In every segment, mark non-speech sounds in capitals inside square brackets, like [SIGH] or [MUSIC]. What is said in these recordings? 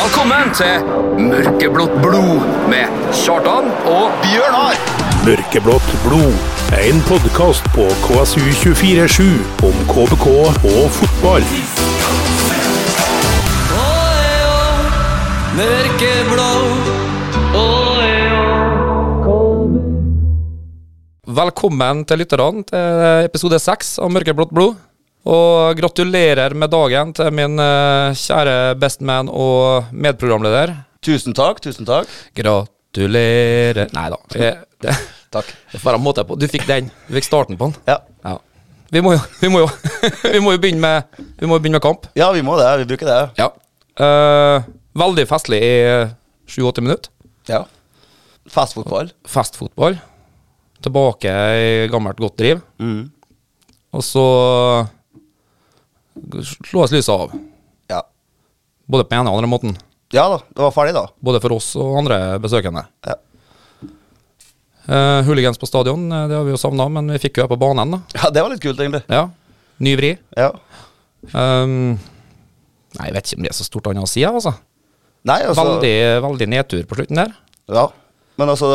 Velkommen til Mørkeblått blod med Kjartan og Bjørnar! Mørkeblått blod, en podkast på KSU247 om KBK og fotball. Mørkeblå. Velkommen til lytterne til episode seks av Mørkeblått blod. Og gratulerer med dagen til min eh, kjære bestman og medprogramleder. Tusen takk, tusen takk. Gratulerer Nei da. Jeg, det, Takk. det får jeg måte på. Du fikk den. Du fikk starten på den. Ja, Ja. Vi må jo, [LAUGHS] vi må jo, vi må jo begynne, med, vi må jo begynne med kamp. ja vi må det. Vi bruker det. Ja. Eh, veldig festlig i sju-åtte minutter. Ja. Festfotball. Festfotball. Tilbake i gammelt godt driv. Mm. Og så slås lyset av. Ja. Både på den ene og den andre måten. ja da, det var ferdig da. Både for oss og andre besøkende. Ja. Eh, hooligans på stadion, eh, det har vi jo savna, men vi fikk jo det på banen. da. Ja, Det var litt kult, egentlig. Ja. Ny vri. Ja. Um, nei, jeg vet ikke om det er så stort annet å si, jeg, altså. Nei, altså Veldig, veldig nedtur på slutten der. Ja. Men altså,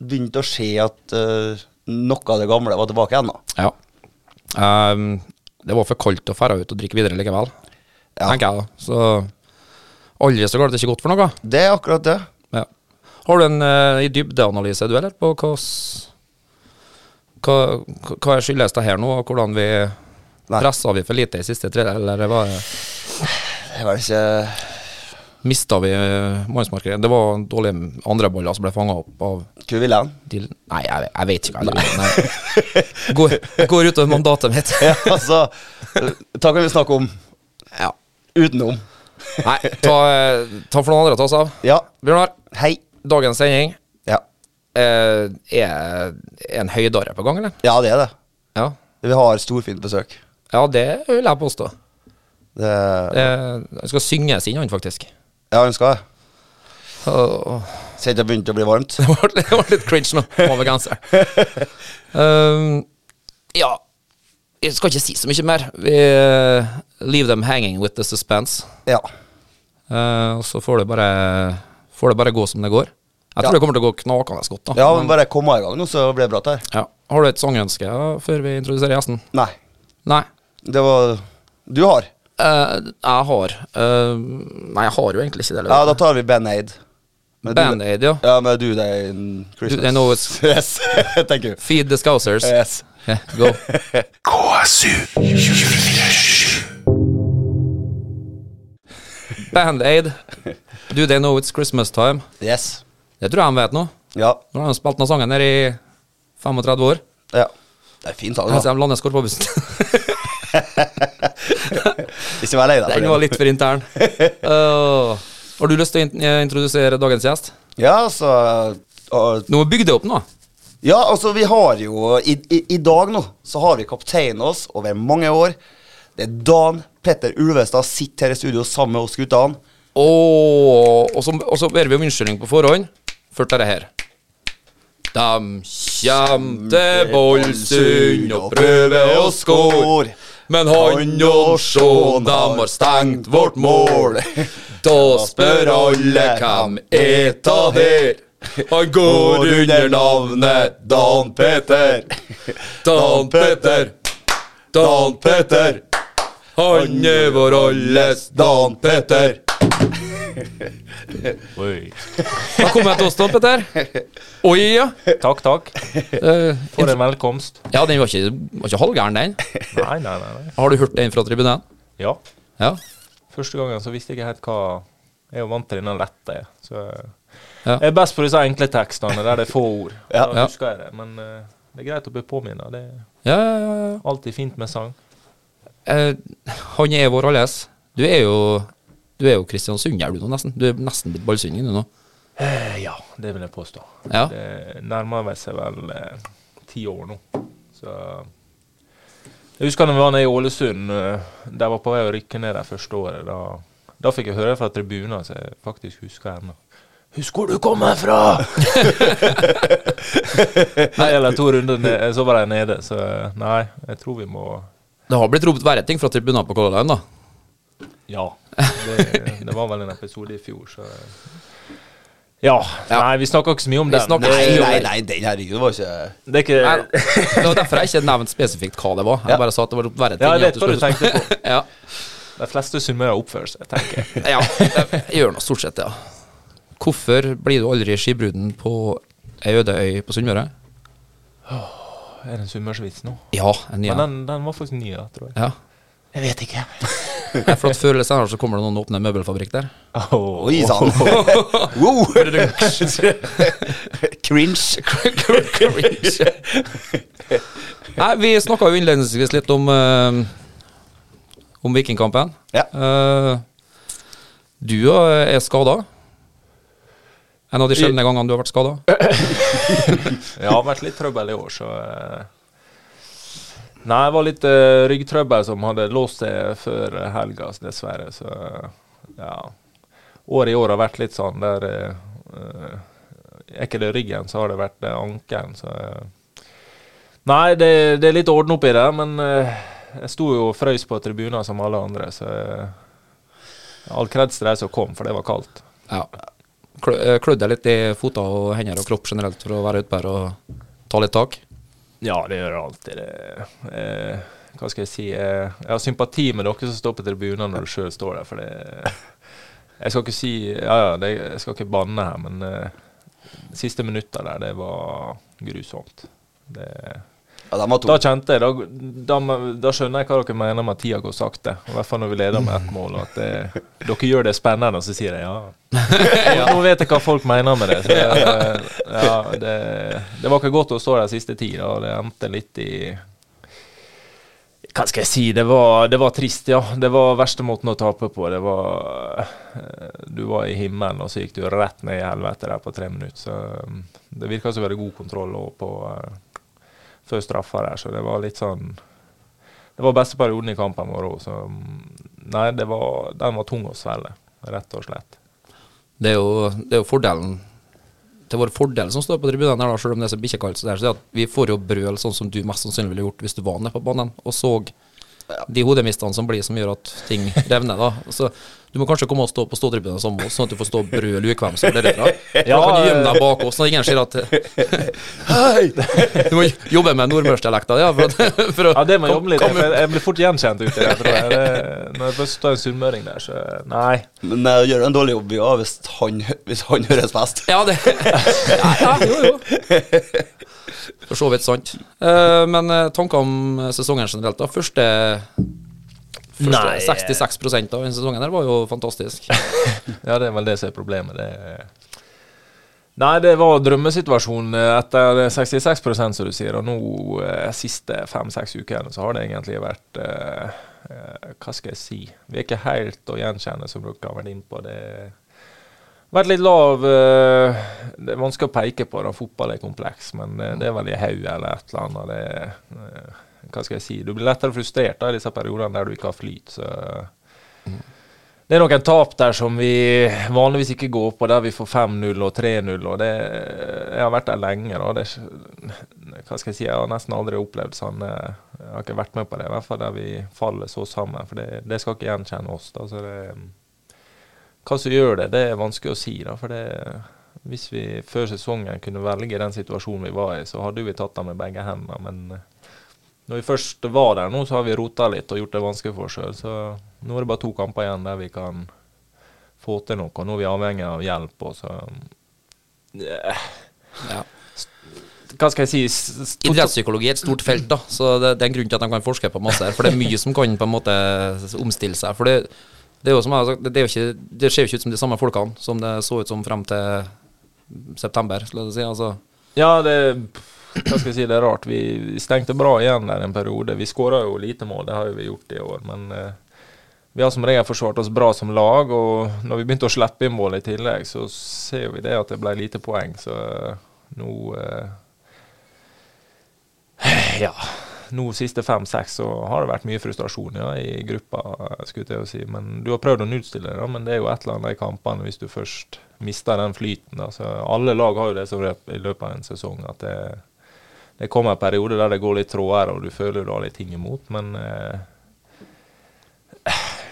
det begynte å se at eh, noe av det gamle var tilbake igjen, da. Ja. Ehm, det var for kaldt å dra ut og drikke videre likevel, Ja. tenker jeg da. Så aldri så går det ikke godt for noe. Det er akkurat det. Ja. Har du en eh, i dybdeanalyse, du, eller? På hva, s- hva, hva skyldes det her nå, og hvordan vi Nei. pressa vi for lite i siste tredje, eller var Det er vel ikke mista vi eh, mannsmarkeringen? Det var dårlige andreballer som altså, ble fanga opp av Kuvilen. [LAUGHS] de Nei, jeg, jeg vet ikke hva jeg Nei. Går, går utover mandatet mitt. Ja, altså Da kan vi snakke om Ja. utenom. Nei, ta, eh, ta for noen andre å ta oss av. Ja. Bjørnar, Hei. dagens sending Ja. eh, er, er en høydare på gang, eller? ja, det er det. Ja, Vi har storfint besøk. ja det vil jeg påstå. Det, Eh, Det skal synges inn, han faktisk. jeg ønsker det. Åh, Siden det begynte å bli varmt. Det var, [LAUGHS] det var litt cringe nå, over genseren. Um, ja, jeg skal ikke si så mye mer. Vi eh, leave them hanging with the suspense. Ja. Eh, og så får det, bare, får det bare gå som det går. Jeg tror Ja. det kommer til å gå knakende godt. da. ja, men bare kom i gang nå, så blir det bra der. Ja. Har du et sangønske ja, før vi introduserer gjesten? Nei, Nei. det var Du har? Eh, jeg har eh, Nei, jeg har jo egentlig ikke det. Ja, da tar vi Band Aid. Med Do- Band-Aid, ja. Ja, med Do They In Christmas. Do They Know It's- [LAUGHS] Yes, thank you. Feed the Scousers. Yes. Yeah, go. KSU247. Band-Aid. Do they know it's Christmas time? yes. Det tror jeg han vet nå. Ja. Nå har han spilt den sangen her i 35 år. ja. Det er [LAUGHS] fin sang, Her da. ser de landet skår på bussen. Ikke vær lei deg. for Den det. var litt for intern. Åh. har du lyst til å in- eh, introdusere dagens gjest? Ja, altså og, Nå bygg det opp nå. Ja, altså, vi har jo i, i, I dag nå så har vi kapteinen oss over mange år. Det er Dan Petter Ulvestad sitter her i studio sammen med oss guttene. Åh, og så- og så ber vi om unnskyldning på forhånd for dette her. De kjem til Bolsund og prøver å score. Men han og Sjån, dem har stengt vårt mål. [LAUGHS] Da spør alle hvem er ta her? Han går under navnet Dan Petter. Dan Petter. Dan Petter. Han er vår alles Dan Petter. Oi. Velkommen til oss, Dan Petter. [LAUGHS] Oi, ja. Takk, takk. Eh, For en velkomst. Ja, den var ikke, var ikke halvgæren, den. Nei, nei, nei. nei. Har du hørt den fra tribunen? Ja. Ja. Første gangen så visste jeg ikke helt hva Jeg er jo vant til denne lette, jeg. så Ja. Jeg er best på disse enkle tekstene der det er få ord. Ja. Da husker jeg det. Men eh, det er greit å bli påminnet. Det er Ja, ja, ja, ja. alltid fint med sang. Eh, han er vår alles. Du er jo Du er jo Kristiansund, er du nå, nesten? Du er nesten blitt ballsyning, du nå. Eh, Ja, det vil jeg påstå. Ja. Det nærmer vel seg vel eh, ti år nå. Så Jeg husker da vi var nede i Ålesund. eh, De var på vei å rykke ned det første året. Da, da fikk jeg høre fra tribunen, så jeg faktisk husker ennå. Husk hvor du kommer [LAUGHS] fra! nei, eller to runder ned, eh, så var de nede. Så eh, nei, jeg tror vi må Det har blitt ropt verre ting fra tribunen på Color Line, da. Ja. Det, det var vel en episode i fjor, så eh, Ja. Ja. Nei, vi snakka ikke så mye om Vi den. snakker- Det, Nei, nei, nei, den herregud var ikke det er Nei, ikke Det var derfor jeg ikke nevnte spesifikt hva det var. Jeg Ja. bare sa at det var verre ting. Ja, jeg enn at vet hva du skulle- tenkte på. [LAUGHS] ja. [LAUGHS] De fleste sunnmører oppfører seg, tenker jeg. ja, jeg gjør nå stort sett det. Ja. Hvorfor blir du aldri skibruden på ei øde øy på Sunnmøre? Er det en sunnmørsvits nå? Ja, en ny Men en. den, den var faktisk ny, da, tror jeg. Ja. Jeg vet [LAUGHS] ikke. Nei, For at før eller senere så kommer det noen og åpner en møbelfabrikk der. Oi sann! [LAUGHS] wow. [LAUGHS] Cringe. Cringe. Nei, vi snakka jo innledningsvis litt om eh, Om Vikingkampen. Ja. Eh, du eh, er skada. En av de sjeldne gangene du har vært skada. Ja, det har vært litt trøbbel i år, så eh. Nei, det var litt eh, ryggtrøbbel som hadde låst seg før eh, helga, så dessverre. Så eh, ja. Året i år har vært litt sånn der eh, eh, Er ikke det ryggen, så har det vært eh, ankelen, så eh. Nei, det, det er litt orden oppi det, men eh, jeg sto jo og frøys på tribuner som alle andre, så eh, All kreds til de som kom, for det var kaldt. Ja. Klø- eh, Klødde litt i føtter og hender og kropp generelt for å være ute der og ta litt tak. Ja, det gjør jeg alltid. Det, eh, hva skal jeg si? Eh, jeg har sympati med dere som står på tribunen når du sjøl står der, for det Jeg skal ikke si Ja, ja, det, jeg skal ikke banne her, men eh, de siste minutta der, det var grusomt. Det, Ja, de var to. da kjente jeg da, da, da skjønner jeg hva dere mener med at tida går sakte. I hvert fall når vi leder med ett mål. og At det, dere gjør det spennende, og så sier jeg ja. Nå vet jeg hva folk mener med det. Så, eh, ja, det, det var ikke godt å stå der siste tid, da, og det endte litt i hva skal jeg si? Det var, det var trist, ja. Det var verste måten å tape på. Det var eh, Du var i himmelen, og så gikk du rett ned i helvete der på tre minutter. Så mm, det virka som vi hadde god kontroll også på eh, før straffa der, så det var litt sånn Det var beste perioden i kampen vår òg, så mm, Nei, det var, den var tung å svelge, rett og slett. Det er jo, det er jo fordelen Det er vår fordel som står på tribunen her, da, selv om det er så bikkjekaldt. Så det er så det at vi får jo brøl sånn som du mest sannsynlig ville gjort hvis du var nede på banen og så de hodemistene som blir som gjør at ting revner. da Så Du må kanskje komme og stå på ståtribunen sammen med oss, sånn at du får stå og brøl ukvem som blir redda. Ja, [LAUGHS] Ja, kan du gjemme deg bak oss, så ingen ser [LAUGHS] at [LAUGHS] Du må jobbe med nordmørsdialekta di ja, for, at- [LAUGHS] for å Ja, det må jeg jobbe litt komme- med. for Jeg, jeg blir fort gjenkjent ute i det, tror jeg. Det, når jeg først står en sunnmøring der, så eh, Nei. Men jeg gjør en dårlig jobb ja, hvis, han, hvis han høres best. Ja, [LAUGHS] det ja, ja, Jo, jo. For så vidt sant. Eh, men eh, tanker om eh, sesongen generelt, da? Første, første Nei. 66 av den sesongen her var jo fantastisk. Ja, det er vel det som er problemet. Det er Nei, det var drømmesituasjonen eh, etter 66 som du sier. Og nå, eh, siste fem-seks ukene, så har det egentlig vært eh, eh, Hva skal jeg si? Vi er ikke helt å gjenkjenne, som dere har vært inne på. Det har vært litt lav eh, Det er vanskelig å peke på, da. Fotball er kompleks, men eh, det er vel i hodet eller et eller annet. Det, er, eh, hva skal jeg si? Du blir lettere frustrert da, i disse periodene der du ikke har flyt. så... Det er noen tap der som vi vanligvis ikke går på, der vi får 5-0 og 3-0. og det, Jeg har vært der lenge. Da. Det, er ikke- hva skal Jeg si, jeg har nesten aldri opplevd sånn eh, Jeg har ikke vært med på det, i hvert fall der vi faller så sammen. For det, det skal ikke gjenkjenne oss. Da. Så det, hva som gjør det, det er vanskelig å si. Da, for det, hvis vi før sesongen kunne velge den situasjonen vi var i, så hadde vi tatt den med begge hendene. Men eh, når vi først var der nå, så har vi rota litt og gjort det vanskelig for oss sjøl. Så nå er det bare to kamper igjen der vi kan få til noe. Og nå er vi avhengig av hjelp. Og så eh, Ja. Hva skal jeg si? S- s- [LAUGHS] Idrettspsykologi er et stort felt, da så det, det er en grunn til at de kan forske på masse her. For det er mye som kan på en måte omstille seg. For det, det er jo som jeg har sagt, det, er jo ikke, det ser jo ikke ut som de samme folkene som det så ut som frem til september. skulle jeg si, altså Ja, det hva skal jeg si, det er rart. Vi stengte bra igjen der en periode. Vi skåra jo lite mål, det har jo vi gjort i år. Men eh, vi har som regel forsvart oss bra som lag. Og når vi begynte å slippe inn mål i tillegg, så ser vi det at det ble lite poeng. Så eh, nå eh, Ja. Nå siste fem-seks så har det vært mye frustrasjon ja, i gruppa, eh, skulle jeg til å si. Men du har prøvd å nullstille det, da, men det er jo et eller annet i kampene hvis du først mister den flyten. Da. Så alle lag har jo det som rep- i løpet av en sesong, at det, det kommer perioder der det går litt tråder, og du føler du har litt ting imot, men eh,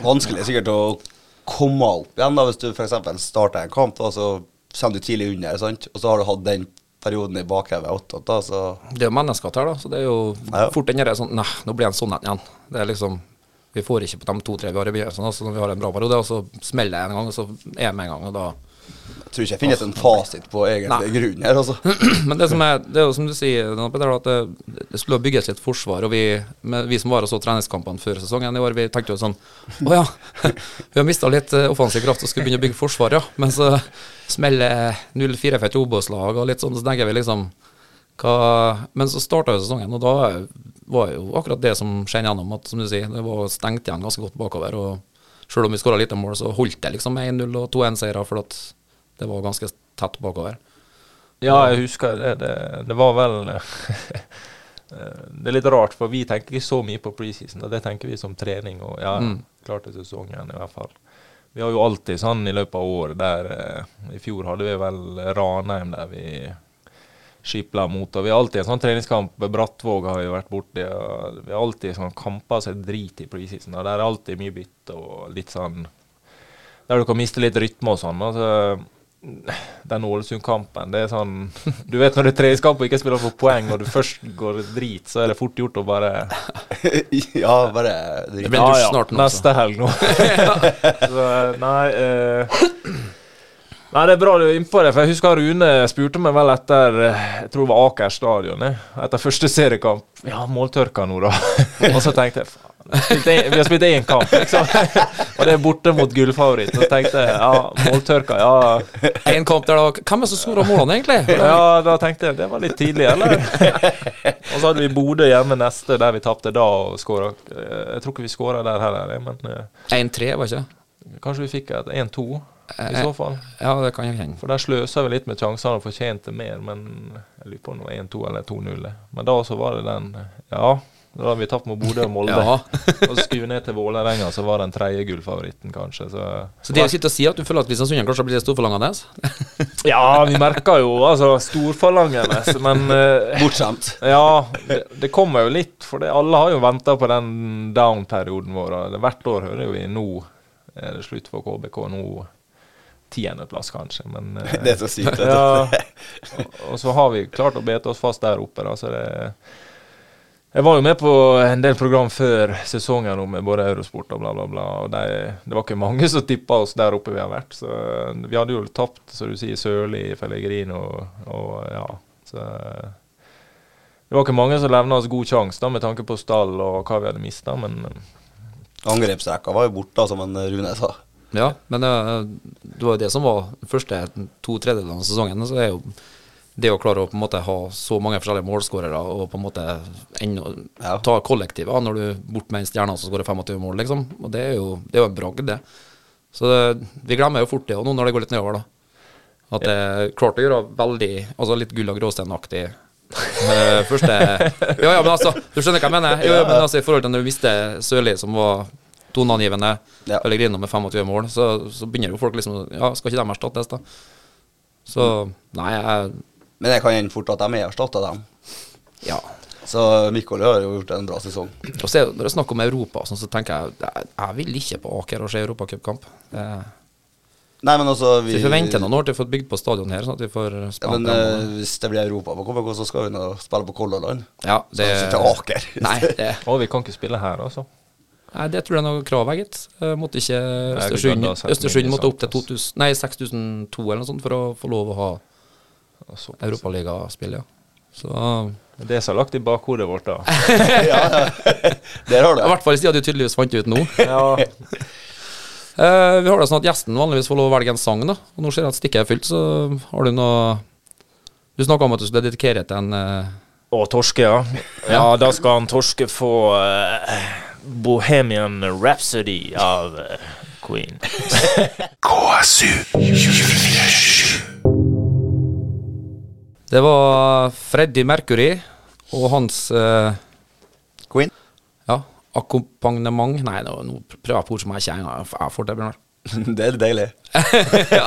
Vanskelig sikkert å komme opp igjen da, hvis du f.eks. starter en kamp, da, så kommer du tidlig under, sant? og så har du hatt den perioden i bakhodet attåt, da, så Det er jo mennesker her, da, så det er jo Ja. fort den derre sånn Nei, nå blir han sånn en igjen. Det er liksom Vi får ikke på de to-tre vi har i begynnelsen, altså, når vi har en bra periode, og så smeller det en gang, og så er jeg med en gang, og da jeg tror ikke jeg finnes en fasit på Nei. egentlig grunnen her, altså. [LAUGHS] Men det som er, det er jo som du sier, Dan Petter, at det, det skulle bygges et forsvar. Og vi, men vi som var og så treningskampene før sesongen i år, vi tenkte jo sånn Å ja, [LAUGHS] vi har mista litt eh, offensiv kraft og skulle begynne å bygge forsvar, ja. Men så smeller 0-4 for et Obos-lag og litt sånn, så tenker vi liksom hva, Men så starta jo sesongen, og da var jo akkurat det som skjedde gjennom, at som du sier, det var stengt igjen ganske godt bakover. og Sjøl om vi skåra lite mål, så holdt det liksom 1-0 og 2-1-seiere, for at det var ganske tett bakover. Ja, jeg husker det. Det, det var vel [LAUGHS] eh, Det er litt rart, for vi tenker ikke så mye på preseason. og Det tenker vi som trening og ja, Mm. klart til sesongen i hvert fall. Vi har jo alltid sånn i løpet av året der eh, I fjor hadde vi vel Ranheim der vi skipla mot. og Vi har alltid en sånn treningskamp. Brattvåg har vi vært borti. og Vi har alltid sånn kamper som er drit i preseason. og Der er det alltid mye bytte og litt sånn Der du kan miste litt rytme og sånn. altså den Ålesund-kampen, det er sånn [LAUGHS] Du vet når det er treningskamp og ikke spiller for poeng, og du først går drit, så er det fort gjort å bare ja, bare Det blir en dusj snart altså. nå. neste helg nå. [LAUGHS] så, nei, eh, nei, det er bra du er innpå det, for jeg husker Rune spurte meg vel etter eh, Jeg tror det var Aker stadion, eh, etter første seriekamp. Ja, måltørka nå, da. [LAUGHS] og så tenkte jeg faen, jeg spilte en- vi har spilt én kamp, liksom. [LAUGHS] og det er borte mot gullfavoritt. Så tenkte jeg ja, måltørka, ja. En kamp der da Hvem er det som skåra målene, egentlig? [LAUGHS] Ja, da tenkte jeg det var litt tidlig, eller? [LAUGHS] og så hadde vi Bodø hjemme neste, der vi tapte da og skåra. Jeg tror ikke vi skåra der heller, jeg, men eh, 1-3, var ikke det? kanskje vi fikk et 1-2 i Eh, så fall. Ja, det kan jeg kjenne. For der sløsa vi litt med sjansene og fortjente mer, men jeg lurer på om det var 1-2 eller 2-0. Men da så var det den Ja, da hadde vi tapt mot Bodø og Molde. Ja. [LAUGHS] og så skulle vi ned til Vålerenga, så var den tredje gullfavoritten, kanskje. Så, Så det å sitte og si at du føler at Kristiansund kanskje blir storforlangende [LAUGHS] Ja, vi merka jo altså storforlangende, men eh, bortskjemt. Ja, det, det kommer jo litt, for det, alle har jo venta på den down-perioden vår. og det- Hvert år hører vi nå er det slutt for KBK, nå tiendeplass kanskje. Men eh, Det er så sykt. vet du. ja, og, [LAUGHS] og så har vi klart å bete oss fast der oppe, da, så det jeg var jo med på en del program før sesongen nå med både Eurosport og bla, bla, bla. og de, Det var ikke mange som tippa oss der oppe vi har vært. så Vi hadde jo tapt, som du sier, Sørli, Pellegrino og ja. så Det var ikke mange som levna oss god sjanse da, med tanke på stall og hva vi hadde mista, men Angrepsrekka var jo borte, da, som en Rune sa. Ja, men eh, det var jo det som var den første to tredjedeler av sesongen. Så er jo det å klare å på en måte ha så mange forskjellige målskårere og på en måte ennå- Ja. ta kollektivet da, når du er bort med en stjerne som skårer 25 mål, liksom. Og det er jo, det er jo en bragd, det. Så det, vi glemmer jo fort det og nå når det går litt nedover, da. At det er klart å gjøre veldig Altså litt gull og gråstein-aktig. eh, første [LAUGHS] Ja, ja, men altså, du skjønner hva jeg mener? Jo, ja, men altså, I forhold til når du mister Sørli, som var toneangivende, Ja. Pellegrino med 25 mål, så, så begynner jo folk liksom å- Ja, skal ikke de erstattes, da? Så Nei, jeg Men det kan hende fort at de er erstatta, dem. Ja. Så Mikkel har jo gjort en bra sesong. Og så er det- Når det er snakk om Europa, og sånn, så tenker jeg jeg, jeg vil ikke på Aker og se europacupkamp. Det- Nei, men altså Vi forventer noen år til å få bygd på stadion her, sånn at vi får Ja, spent men dem. eh, hvis det blir Europa på KBK, så skal vi nå spille på Color Line. Ja, det, Så ikke til Aker. Nei, [LAUGHS] det, å, vi kan ikke spille her, altså. nei, det tror jeg er noe krav, jeg, gitt. Eh, Måtte ikke Østersund, Gud, da setter Østersund mye måtte opp til sant, 2000, nei, 6002 eller noe sånt for å få lov å ha Og så- europaligaspill, ja. Så Det er Det som er lagt i bakhodet vårt, da. Der har du I det. hvert fall siden du tydeligvis fant ut nå. [LAUGHS] Ja, Eh, vi har det sånn at gjesten vanligvis får lov å velge en sang, da. Og nå ser jeg at stikket er fylt, så har du noe Du snakka om at du skulle dedikere til en eh, Og torske, ja. Ja, da skal han torske få eh, Bohemian Rhapsody av eh, Queen. KSU 247. Det var Freddie Mercury og hans eh, Queen. Ja. Akkompagnement Nei, nå, nå prøver jeg på ord som jeg ikke engang jeg får til, Bjørnar. [LAUGHS] det er deilig. [LAUGHS] ja,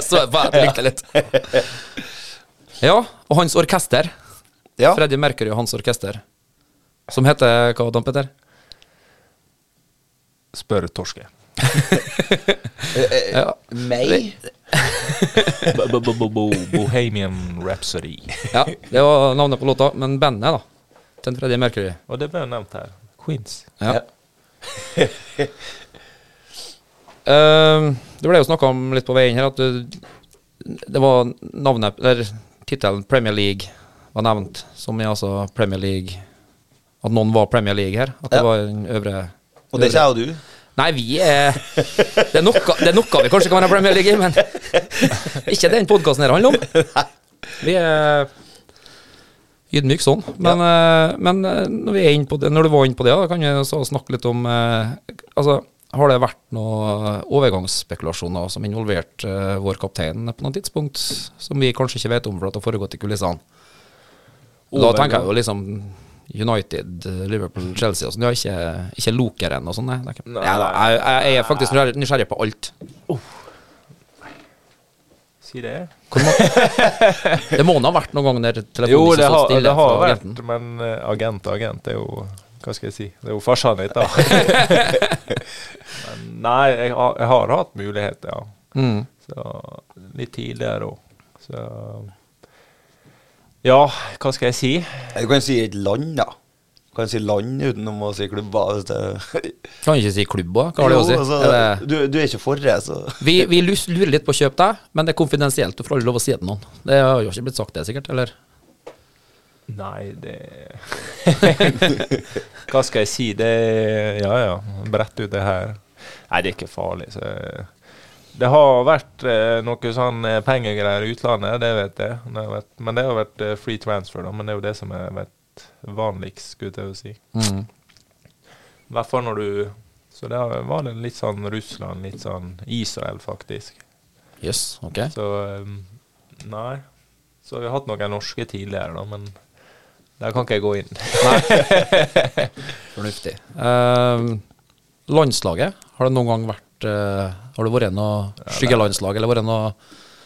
så jeg bare likte litt. [LAUGHS] Ja, og hans orkester. Ja. Freddie Mercury og hans orkester. Som heter hva, Dan Petter? Spør Torske. Eh. Ja. Meg? Bo- bo- bo- bo- Bohemian Rhapsody. ja, det var navnet på låta. Men bandet, da. Til Freddie Mercury. Og det ble jo nevnt her. Queens. Ja. [LAUGHS] Eh, det ble jo snakka om litt på veien her at du, det var navnet Eller tittelen Premier League var nevnt, som er altså Premier League At noen var Premier League her. At det Ja. var en øvre Og det er ikke jeg og du. Nei, vi er Det er noe, det er noe vi kanskje kan være Premier League i, men [LAUGHS] ikke den podkasten her handler om. Vi er ydmyke sånn. Men, eh, men eh, når, vi er inne på det, når du var inne på det, da, kan vi så snakke litt om eh, Altså, har det vært noen overgangsspekulasjoner som involverte eh, vår kaptein på noe tidspunkt, som vi kanskje ikke vet om for at det har foregått i kulissene? Og Da tenker jeg jo liksom United, Liverpool, Chelsea og sånn. Ja, ikke, ikke Lokeren og sånn, nei. Det er ikke- Nei. Nei, da, jeg, jeg, jeg er faktisk nysgjerrig- nysgjerrig på alt. Si det. Hvor må- det må nå ha vært noen ganger der telefonen Jo, ikke det satt har, stille det har fra vært, agenten. men eh, agent og agent er jo Hva skal jeg si? Det er jo farsan [LAUGHS] litt, da. men nei, jeg har, jeg har hatt muligheter, ja. Mm. Så, litt tidligere òg. Så Ja, hva skal jeg si? Du kan si et land, da. Du kan si land utenom å si klubber. hvis det- Kan ikke si klubb òg, hva har det å si? Jo, altså, Er det- du, du er ikke altså. for det, så Vi, vi lus- lurer litt på å kjøpe deg, men det er konfidensielt. Du får aldri lov å si det til noen. Det har jo ikke blitt sagt, det, sikkert? Eller? Nei, det [LAUGHS] Hva skal jeg si? Det Ja, ja. Brett ut det her. Nei, det er ikke farlig. Så. Det har vært eh, noe sånn eh, pengegreier i utlandet, det vet jeg. Det har vært, men det har vært eh, free transfer, da. Men det er jo det som er vært vanligst, skulle jeg til å si. Mm. I hvert fall når du Så det har- var det litt sånn Russland, litt sånn Israel, faktisk. Yes, ok. Så um, nei. Så vi har hatt noen norske tidligere, da, men der kan ikke jeg gå inn. [LAUGHS] Fornuftig. Eh, landslaget, har det noen gang vært eh, Har det vært noe skyggelandslag, eller vært [LAUGHS] noe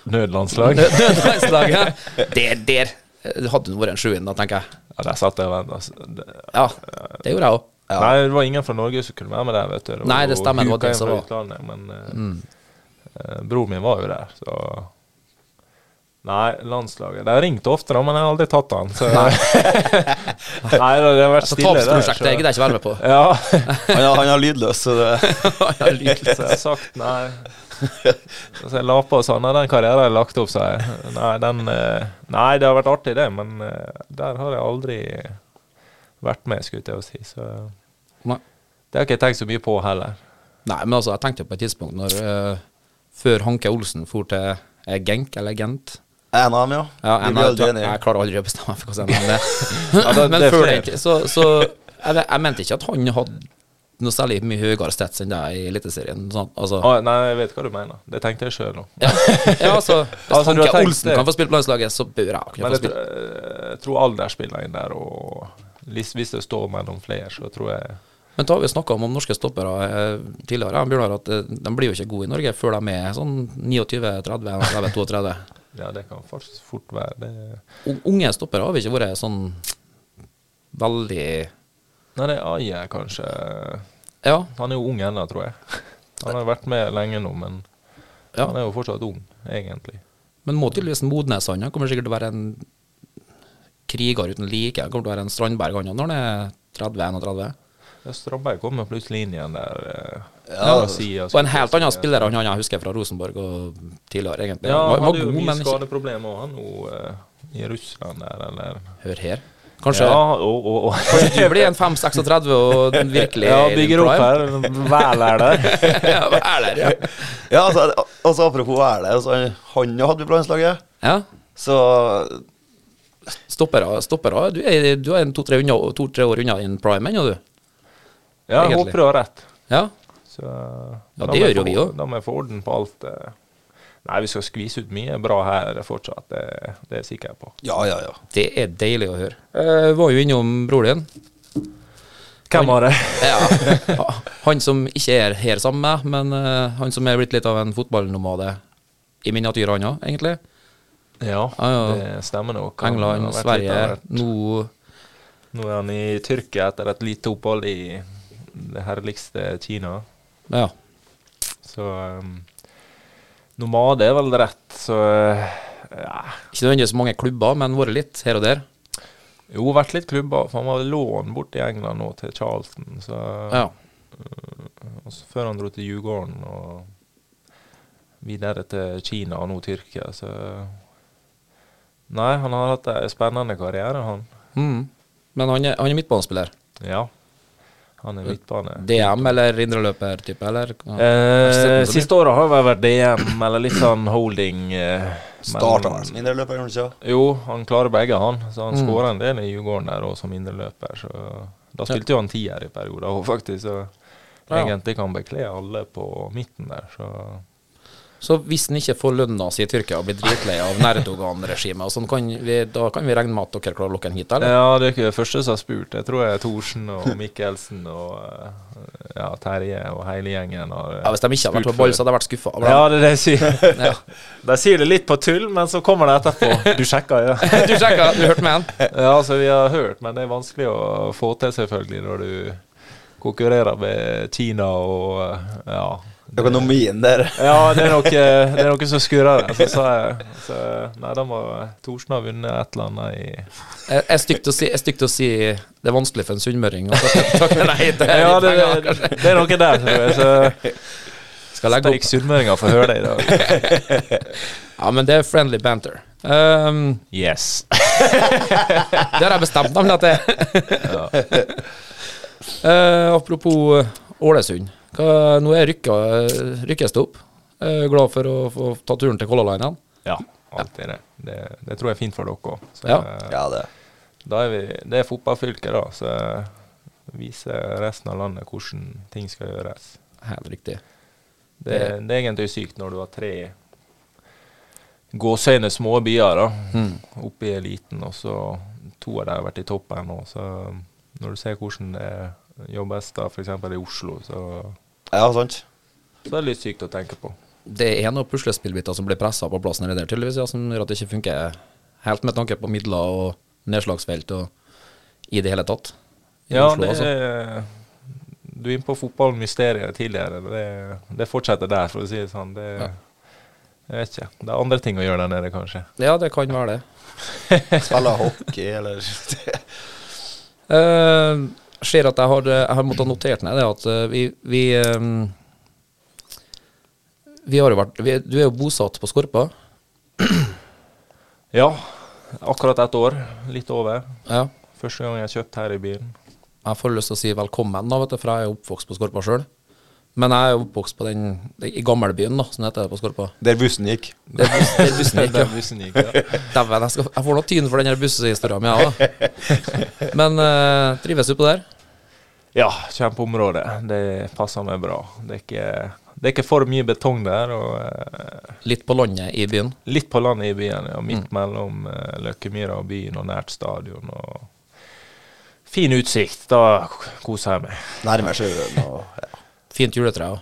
Nødlandslag? [LAUGHS] Landslaget. Der, der. Det hadde nå vært en sjuende, da, tenker jeg. Ja, der satt jeg og venta. altså. Det- Ja, det gjorde jeg òg. Nei, det var ingen fra Norge som kunne være med der, vet du. var Nei, det jo stemmer, det var huka det inn som fra var. Mm. Utlandet, men eh, eh, broren min var jo der, så Nei, landslaget. De ringte ofte, da, men jeg har aldri tatt han. Så... [LAUGHS] Nei, da, det har vært Så Altså, stille der. tapsprosjektet gidder jeg ikke være med på. Ja, Han, er- han er lydløs, så det så jeg har sagt nei. Så jeg la på og sa nei, den karrieren jeg lagt opp, sa jeg. Nei, den, eh, nei, det har vært artig, det, men eh, der har jeg aldri vært med, skulle jeg til å si. Så Nei. det har ikke jeg tenkt så mye på heller. Nei, men altså, jeg tenkte på et tidspunkt når eh, Før Hanke Olsen for til eh, Genk, eller Gent er en av dem, ja. ja, Vi en blir av- aldri enige. Jeg klarer aldri å bestemme meg for hva som er [LAUGHS] Ja, det. det- Men det er før flere. det, så, så jeg, vet- jeg mente ikke at han hadde noe særlig mye høyere stats enn deg i Eliteserien. Sånn, altså, Ah, nei, jeg vet hva du mener. Det tenkte jeg sjøl nå. ja, ja, altså, hvis Altså, du Hanke har tenkt Olsen det. kan få spille på landslaget, så bør jeg også kunne få Men jeg, spille. tr- jeg tror alder spiller inn der, og hvis hvis det står mellom flere, så tror jeg Men da har vi snakka om, om norske stoppere eh, tidligere, ja, Bjørnar, at eh, de blir jo ikke gode i Norge før de er sånn 29-30-32. Ja, det kan faktisk fort være det. Og Unge stoppere har vi ikke vært sånn veldig Nei, det er Aje, kanskje. Ja, Han er jo ung ennå, tror jeg. Han har vært med lenge nå, men Ja. han er jo fortsatt ung, egentlig. men må tydeligvis modnes, han. Han kommer sikkert til å være en kriger uten like. Han kommer til å være en Strandberg, han òg, når han er 30-31. Ja, Strandberg kommer plutselig inn igjen der. eh, Ja, fra siden, Og en så- helt annen spiller enn han jeg husker fra Rosenborg og tidligere, egentlig. Ja, han var, han var hadde jo god, mye men ikke skadeproblemer òg, han nå eh, i Russland der, eller Hør her. Kanskje Ja, og, og, og. du blir en 5-36 og virkelig [LAUGHS] ja, bygger opp prime. her. Vel er det. [LAUGHS] ja, er der, ja. Ja, altså, altså apropos er det, altså, han- han jo hadde vi på landslaget, ja. så Stoppere, stoppere. Du er, du er en to-tre unna- to-tre år unna din prime ennå, du. Ja, jeg Egentlig. håper du har rett. Ja. Så, eh, Ja, da det må gjør jo jeg vi få- også. Da må jeg få orden på alt. eh. Nei, vi skal skvise ut mye bra her fortsatt, det, det er jeg sikker på. Ja, ja, ja. Det er deilig å høre. Jeg var jo innom bror din. Hvem var det? [LAUGHS] Ja. Han som ikke er her sammen med meg, men eh, han som er blitt litt av en fotballnomade i miniatyr, han òg, egentlig. Ja, Ja, ja. det stemmer nok. Han har England, vært litt Sverige, av hvert. nå Nå er han i Tyrkia etter et lite opphold i det herligste Kina. Ja. Så um, Nomade er vel rett, så eh, ja. Ikke nødvendigvis mange klubber, men vært litt her og der. Jo, vært litt klubber, for han var lånt bort i England nå til Charlton. Så, Ja. og så før han dro til Djurgården og videre til Kina og nå Tyrkia, så Nei, han har hatt en spennende karriere, han. Mm. Men han er, han er midtbanespiller. Ja. Han er midtbane. DM eller indreløper-type, eller? Eh, siste året har vel vært DM, eller litt sånn holding. Eh, men- Starta vel som indreløper, gjorde han ikke? det? Jo, han klarer begge, han. Mm. Så han skåra en del i Djurgården der òg, som indreløper. Så da spilte jo han tier i perioder òg, faktisk. Så Ja. egentlig kan han bekle alle på midten der, så Så hvis han ikke får lønna si i Tyrkia og blir dritlei av Nerdogan-regimet, og sånn, kan vi, da kan vi regne med at dere klarer å lokke han hit, eller? Ja, det er ikke det første som har spurt. Jeg tror jeg [LAUGHS] Thorsen og Mikkelsen og eh, ja, Terje og hele gjengen har eh, Ja, Hvis de ikke hadde vært spurt på ball, før. så hadde jeg vært skuffa. Ja, det er det jeg sier. [LAUGHS] Ja. De sier det litt på tull, men så kommer det [LAUGHS] etterpå. Du sjekker, ja. du sjekka, du hørte med han? Ja, altså vi har hørt, men det er vanskelig å få til selvfølgelig når du konkurrerer med Kina og ja. Økonomien der. Ja, det er noe, det er noe som skurrer. der, Så sa jeg så, eh, Nei, da må Thorsen ha vunnet et eller annet i Jeg jeg er stygt å si, jeg er stygt å si det er vanskelig for en sunnmøring å takke nei til [LAUGHS] Ja, det, penger, det, kanskje. det er noe der, tror jeg. Så Skal legge steik opp. sunnmøringer får høre det i [LAUGHS] dag. Ja, men det er friendly banter. Um, Yes. Det har jeg bestemt nemlig at det er. Eh, apropos Ålesund. Hva, nå er rykka, rykkes det opp. Eh, glad for å få ta turen til Color Line igjen. Ja, alltid det. det. Det tror jeg er fint for dere òg. Ja. [LAUGHS] Ja, det. Da er vi, det er fotballfylket, da. Så viser resten av landet hvordan ting skal gjøres. Helt riktig. Det, det er egentlig sykt når du har tre gåseøyne små byer da, oppe i eliten, og så to av dem har vært i toppen nå. Så um, når du ser hvordan det jobbes da, f.eks. i Oslo, så, Ja, sant. så er det litt sykt å tenke på. Det er noen puslespillbiter som blir pressa på plassen her der, tydeligvis, ja, som gjør at det ikke funker helt med tanke på midler og nedslagsfelt og i det hele tatt. I Ja, Oslo, det altså. er, du er inne på fotballmysteriet tidligere. Det, det fortsetter der, for å si det sånn. Det, Jeg vet ikke. Det er andre ting å gjøre der nede, kanskje. ja, det kan være det. Spiller hockey, eller Eh, ser at jeg har, eh, jeg har måttet notert ned det at eh, vi vi, eh, vi har jo vært vi, Du er jo bosatt på Skorpa. Ja, akkurat ett år. Litt over. Ja. Første gang jeg kjøpte her i byen. Jeg får lyst til å si velkommen, da, vet du, for jeg er jo oppvokst på Skorpa sjøl. Men jeg er jo oppvokst på den i gamlebyen, da, som det heter på Skorpa. [LAUGHS] Der bussen gikk. Det er bus- det er bussen [LAUGHS] jeg gikk, ja. Den bussen gikk, ja. Dæven, jeg, skal- jeg får nå tyn for den her bussehistorien min, jeg òg. Men eh, trives du på det her? Ja, kjempeområde. Det passer meg bra. Det er ikke, det er ikke for mye betong der. og eh, Litt på landet i byen? Litt på landet i byen, ja. midt mellom eh, Løkkemyra og byen og nært stadion. og Fin utsikt. Da k- koser jeg meg. [LAUGHS] Nærmer seg sjøen og ja. Fint juletre òg.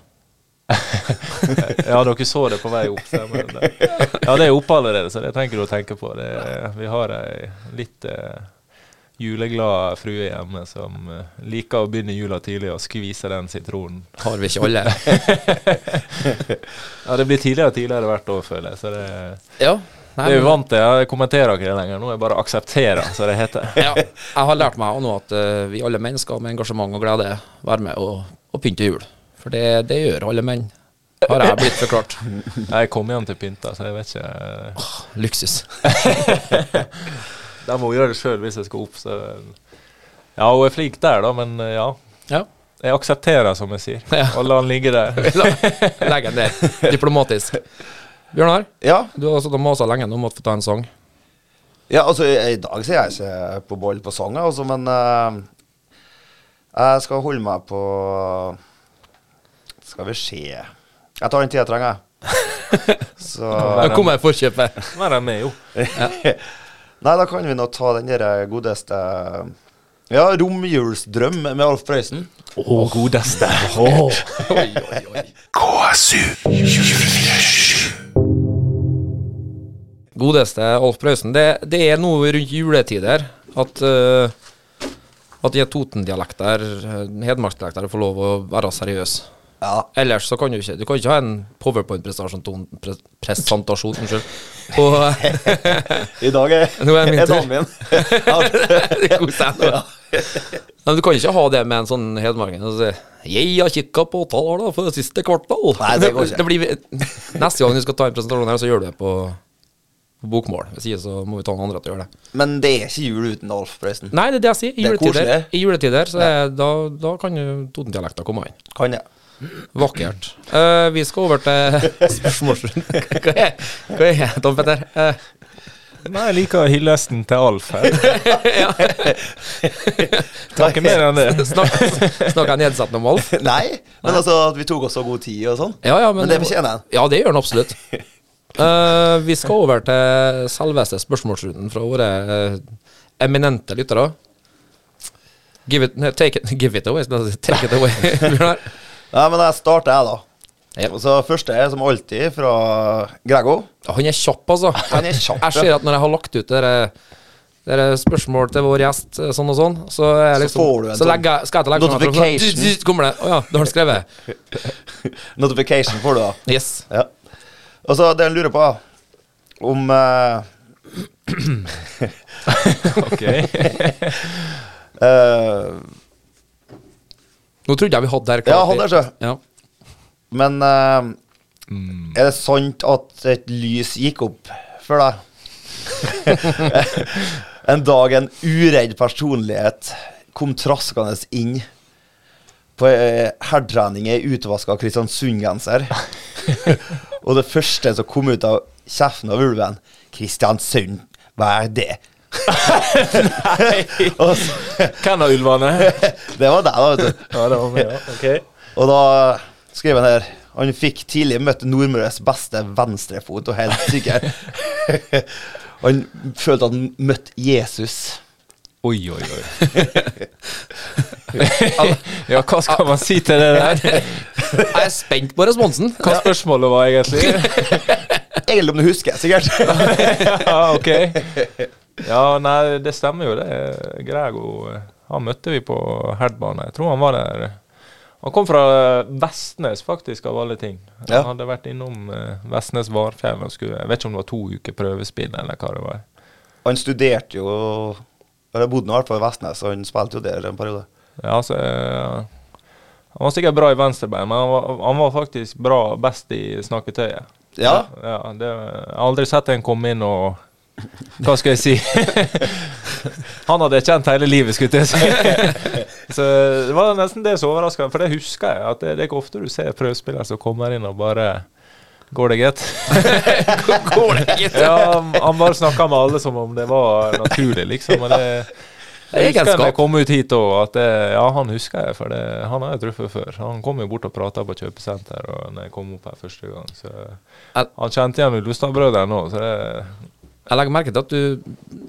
Ja, dere så det på vei opp. stemmer det. Ja, det er oppe allerede, så det trenger du å tenke på. Det, vi har ei litt eh, juleglad frue hjemme som eh, liker å begynne jula tidlig og skvise den sitronen. Har vi ikke alle? Ja, det blir tidligere og tidligere hvert år, føler jeg. Så det, Ja. det er vi vant til. Jeg kommenterer ikke det lenger. Nå er jeg bare aksepterer, som det [LAUGHS] heter. ja, jeg har lært meg også nå at eh, vi alle menn skal med engasjement og glede være med og, og pynte jul. For det, det gjør alle menn, har jeg blitt forklart. Jeg kom hjem til pynta, så jeg vet ikke eh. Luksus. Da må hun gjøre det sjøl hvis jeg skal opp, så Ja, hun er flink der, da, men eh, ja. Ja. Jeg aksepterer, som jeg sier. Ja. Og la han ligge der. Legg den der, diplomatisk. Bjørnar, ja. du har sittet og masa lenge nå om å få ta en sang. Ja, altså, i i dag så er jeg ikke på ball på sang, jeg, altså, men eh, jeg skal holde meg på Skal vi se Jeg tar den tida jeg trenger, [LAUGHS] jeg. Så Nå kommer jeg i forkjøpet. [LAUGHS] Nå er de med, jo. Nei, da kan vi nå ta den der eh, godeste Ja, 'Romjulsdrøm' med Alf Prøysen. Å, godeste. KSU 247. Godeste Alf Prøysen. Det, det er noe rundt juletider at eh, at de Toten-dialekter, eh, hedmarksdialekter, får lov å være seriøse. Ja. Ellers så kan du ikke Du kan ikke ha en powerpoint-presentasjon pre, Presentasjon, unnskyld. På, I dag er, Nå er det min er tur. dagen [LAUGHS] min. [LAUGHS] Ja. Det er god stemning. Men du kan ikke ha det med en sånn hedmarking og si 'Jeg har kikka på tallene for det siste kvartal'. Nei, det går ikke. blir, neste gang du skal ta en presentasjon her, så gjør du det på, på bokmål. Hvis ikke så må vi ta noen andre til å gjøre det. Men det er ikke jul uten Alf, forresten. Nei, det er det jeg sier. I Det er juletider, koselig. i juletider så er, da, da kan jo Toten-dialekta komme inn. Kan jeg? Vakkert. Eh, vi skal over til [LAUGHS] spørsmålsrunden. Hva er hva er det, Tom Petter? Eh, Nei, jeg liker hillesten til Alf [LAUGHS] her. [LAUGHS] Takk mer enn det. snak, snakker jeg nedsettende om Alf? Nei, men altså at vi tok oss så god tid og sånn. Ja, ja, men, Men det fortjener han. Ja, det gjør han absolutt. Eh, vi skal over til selveste spørsmålsrunden fra våre eh, eminente lyttere. Give it, nei, take, it, give it away. skal jeg si. Take it away. [LAUGHS] Bjørnar. Nei, men jeg starter, jeg, da. Ja. Så første er som alltid fra Grego. Han er kjapp, altså. [LAUGHS] Han er kjapp, Jeg ser at når jeg har lagt ut dere, dere spørsmål til vår gjest, eh, sånn og sånn, så, er jeg Så liksom, får du en så sånn legger, jeg- skal jeg legge meg ned, så- notification. så kommer det Å ja, det har han skrevet. Notification får du, da. Yes. Ja. Og så det han lurer på, om eh, [LAUGHS] Ok. eh, Nå trodde jeg vi hadde det her. Ja, hadde det, så. Ja. Men eh, er det sant at et lys gikk opp for deg? en dag en uredd personlighet kom traskende inn på eh, herrtrening i utvaska Kristiansund-genser. Og det første som kom ut av kjeften av ulven Kristiansund, hva er det? [LAUGHS] Og så, Hvem av ulvene? det var deg, da, vet du. Ja, det var meg, [LAUGHS] ja. Ok. Og da skriver han her Han fikk tidlig møtt Nordmøres beste venstrefot, og helt sikker. [LAUGHS] han følte at han møtte Jesus. Oi, oi, oi. [LAUGHS] Ja, hva skal man si til det der? Jeg er [LAUGHS] spent på responsen. Hva spørsmålet var [LAUGHS] egentlig? Egentlig om du husker, sikkert. [LAUGHS] Ja, ok. Ja, nei, det stemmer jo det. Grego, han møtte vi på Herdbane. Jeg tror han var der. Han kom fra Vestnes, faktisk, av alle ting. Han Ja. hadde vært innom eh, Vestnes Varfjell og skulle Jeg vet ikke om det var to uker prøvespill, eller hva det var. han studerte jo Eller bodde nå i hvert fall i Vestnes, og han spilte jo der en periode. Ja, altså, eh, han var sikkert bra i venstrebein, men han var, han var faktisk bra best i snakketøyet. Ja. ja det, jeg har aldri sett en komme inn og Hva skal jeg si? [LAUGHS] han hadde jeg kjent hele livet, skulle jeg si. [LAUGHS] så det var nesten det som overraska meg, for det husker jeg. at Det, det er ikke ofte du ser prøvespillere som kommer inn og bare Går det [LAUGHS] greit? Går det ikke? ja, han- han bare snakka med alle som om det var naturlig, liksom. Og det jeg husker da jeg kom ut hit òg, at det, ja, han husker jeg, for det, han har jeg truffet før. Han kom jo bort og prata på kjøpesenter og når jeg kom opp her første gang. Så han kjente igjen Ulvestad-brødrene òg, så det Jeg legger merke til at du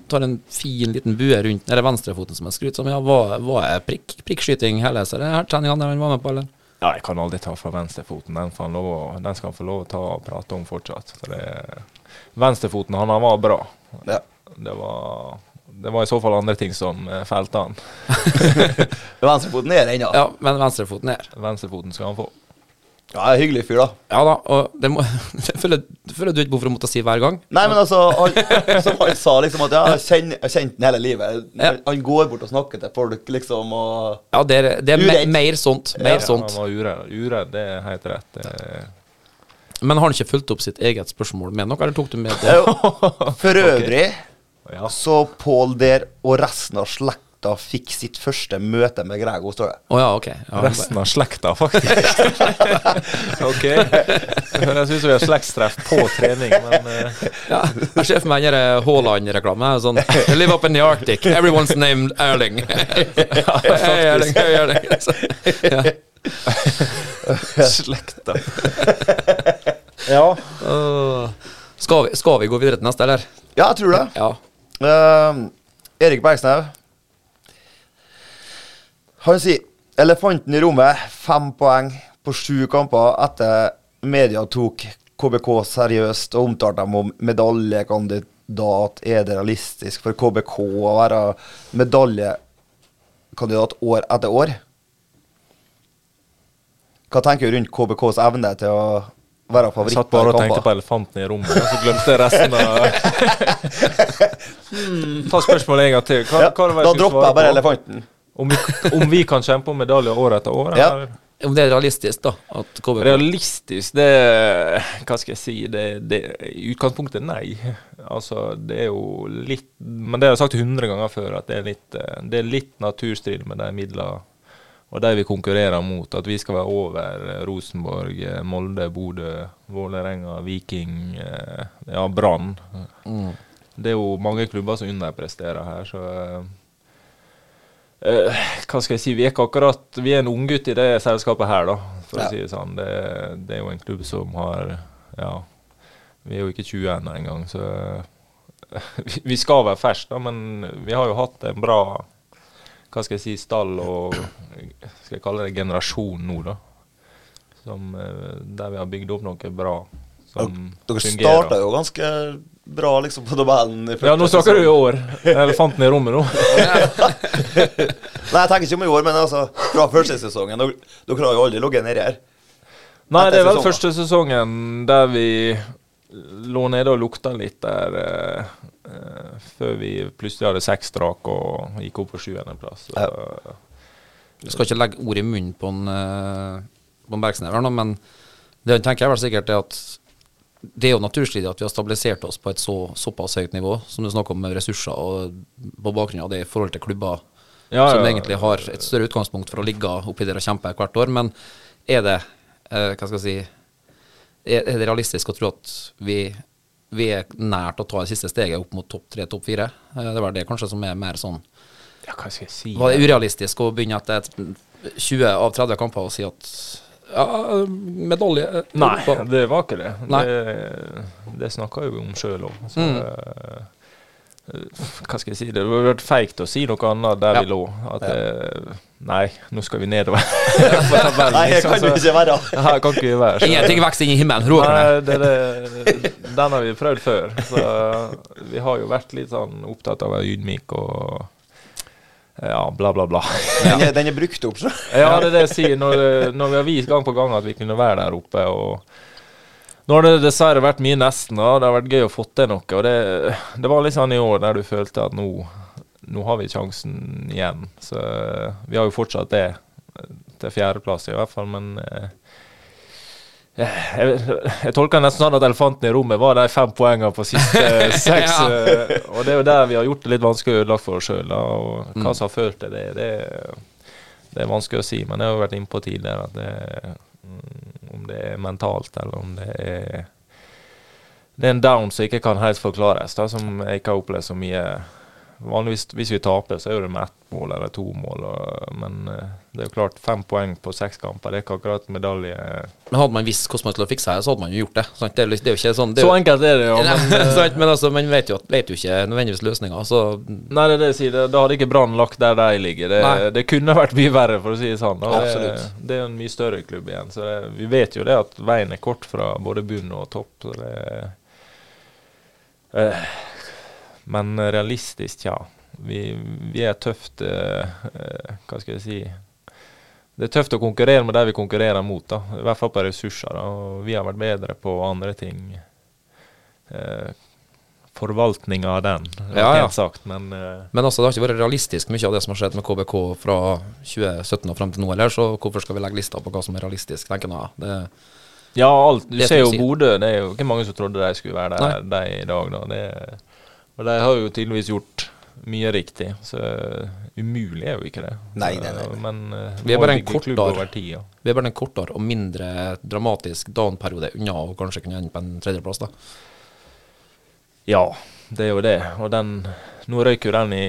tar en fin liten bue rundt den venstrefoten som er skrudd som. Ja, var, var det prikk, prikkskyting hele så det her treninga der han var med på, eller? Ja, jeg kan aldri ta fra venstrefoten. Den, får han lov å- den skal han få lov å ta og prate om fortsatt. Så det, venstrefoten han, han var bra. Ja. Det var, det var i så fall andre ting som eh, felte han. Venstrefoten er der ennå. Ja, men venstrefoten er her. Venstrefoten skal han få. Ja, en hyggelig fyr, da. Ja da, og det må [LAUGHS] det føler, det føler du ikke behov for å måtte si hver gang. Nei, men altså, han, som han sa, liksom at ja, jeg kjenner- jeg kjente han hele livet. Han, han går bort og snakker til folk, liksom, og Ja, det er, det er me, Uredd. mer sånt. Mer sånt. Han var uredd. Uredd, det er helt rett. Det, Men har han ikke fulgt opp sitt eget spørsmål med noe, eller tok du med det? Jo, [LAUGHS] For øvrig Ja. så Pål der og resten av slekta fikk sitt første møte med Grego, står det. Å ja, ok. Ja, Resten av slekta, faktisk. [LAUGHS] ok. Det høres ut som vi har slektstreff på trening, men eh, ja. Jeg ser for meg den der Haaland-reklame. Sånn I live up in the Arctic. Everyone's named Erling. Hei, Erling, hei, Erling. Ja. slekta Ja. Åh. Skal vi, skal vi gå videre til neste, eller? Ja, jeg tror det. Ja. Ehm, Erik Bergsnau. Han sier 'Elefanten i rommet', fem poeng på sju kamper etter media tok KBK seriøst og omtalte dem om medaljekandidat. Er det realistisk for KBK å være medaljekandidat år etter år? Hva tenker du rundt KBKs evne til å være Jeg favoritt? satt bare og i kamper? tenkte på elefanten i rommet, og så glemte jeg resten av Ta spørsmålet en gang til. Hva, Hmm. ja, hva var det Da skulle dropper svare jeg bare på? elefanten. Om vi, om vi kan kjempe om medaljer år etter år? Ja. eller? Om det er realistisk, da. At KBK Realistisk, det Hva skal jeg si? Det, det, I utgangspunktet, nei. Altså, det er jo litt Men det har jeg sagt 100 ganger før, at det er litt, eh, det er litt naturstrid med de midlene og de vi konkurrerer mot. At vi skal være over eh, Rosenborg, eh, Molde, Bodø, Vålerenga, Viking, eh, ja, Brann. Det er jo mange klubber som underpresterer her, så eh, Eh, hva skal jeg si, vi er ikke akkurat Vi er en unggutt i det selskapet her, da, for Ja. å si det sånn. Det, det er jo en klubb som har Ja, vi er jo ikke 20 ennå engang, så eh, [LAUGHS] vi, vi skal være ferske, da, men vi har jo hatt en bra Hva skal jeg si, stall og Skal jeg kalle det generasjon nå, da. Som, eh, der vi har bygd opp noe bra som Dere fungerer. starta jo ganske bra liksom på tabellen. i første ja, nå snakker du i sesong. år. Elefanten i rommet [LAUGHS] nå. Nei, jeg tenker ikke om i år, men altså fra første sesongen. Dere, dere har jo aldri ligget nedi her. Nei, Etter det er vel sesongen. første sesongen der vi lå nede og lukta litt der eh, eh, før vi plutselig hadde seks strak og gikk opp på sjuendeplass. Så, Jeg skal ikke legge ord i munnen på en, eh, på en Bergsnes her nå, men det han tenker jeg vel sikkert er at det er jo naturstridig at vi har stabilisert oss på et så, såpass høyt nivå, som du snakker om med ressurser, og på bakgrunn av det i forhold til klubber Ja, som ja. egentlig har et større utgangspunkt for å ligge oppi der og kjempe hvert år. Men er det eh, Hva skal jeg si Er, er det realistisk å tro at vi, vi er nært å ta det siste steget opp mot topp tre, topp fire? Eh, det er vel det kanskje som er mer sånn ja, hva skal jeg si? var det urealistisk å begynne etter et 20 av 30 kamper og si at ja, medalje eh, Nei, Europa. det var ikke det. Nei. Det, det snakka jo vi om sjøl òg. eh, Hva skal jeg si? Det hadde vært feigt å si noe annet der Ja. vi lå. At eh, nei, nå skal vi nedover. Nei, det altså. kan jo ikke være. Her kan ikke vi være. så- Ingenting vokser inn i himmelen, roer meg. Nei, det, det, den har vi prøvd før. Så vi har jo vært litt sånn opptatt av å være ydmyk og ja, bla, bla, bla. Den er, den er brukt opp, [LAUGHS] så. Ja, det er det jeg sier. Når, når vi har vist gang på gang at vi kunne være der oppe og nå har det dessverre vært mye nesten, da. Det har vært gøy å få til noe. Og det, det var litt sånn i år der du følte at nå, nå har vi sjansen igjen. Så eh, vi har jo fortsatt det til fjerdeplass, i hvert fall, men eh, jeg, jeg tolker det nesten sånn at elefanten i rommet var de fem poengene på siste seks. Ja. eh, Og det er jo der vi har gjort det litt vanskelig og ødelagt for oss sjøl. Og hva som har ført til det, det, det er vanskelig å si. Men jeg har jo vært innpå tidligere at det, mm, om det er mentalt, eller om det er Det er en down som ikke kan helt forklares, da, som jeg ikke har opplevd så mye. Vanligvis hvis vi taper, så er det med ett mål eller to mål, og, men eh, det er jo klart fem poeng på seks kamper, det er ikke akkurat medalje. Men hadde man visst hvordan man skulle fikse det, så hadde man jo gjort det. Sant? Det, er, litt- det er jo ikke sånn det er Så jo- enkelt er det, ja. [LAUGHS] Nei, Men, eh, sant? Men altså, man vet jo, at- vet jo ikke nødvendigvis altså. løsninga, så nei, det er det jeg sier. det- Da hadde ikke Brann lagt der de ligger. Nei. Det, det kunne vært mye verre, for å si det sånn. Og det, Absolutt. det er en mye større klubb igjen. Så det, vi vet jo det at veien er kort fra både bunn og topp. Så det, eh, men realistisk, ja. Vi, vi er tøft eh, eh, Hva skal jeg si? Det er tøft å konkurrere med de vi konkurrerer mot, da. I hvert fall på ressurser. Da. Og vi har vært bedre på andre ting. Eh, Forvaltninga av den, Ja, ja. pent sagt, men eh, Men altså, det har ikke vært realistisk mye av det som har skjedd med KBK fra 2017 og frem til nå heller, så hvorfor skal vi legge lista på hva som er realistisk, tenker jeg. Det, Ja, alt. Du Det som ser jo du sier. Bodø. Det er jo ikke mange som trodde de skulle være der de er i dag, da. Det, og de har jo tydeligvis gjort mye riktig, så umulig er jo ikke det. Nei, nei, nei, nei. Men eh, Vi er bare en bygger klubb kortere- over tid, ja. vi er bare en kortere og mindre dramatisk down-periode unna og kanskje kunne ende på en tredjeplass, da. Ja, det er jo det. Og den Nå røyk jo den i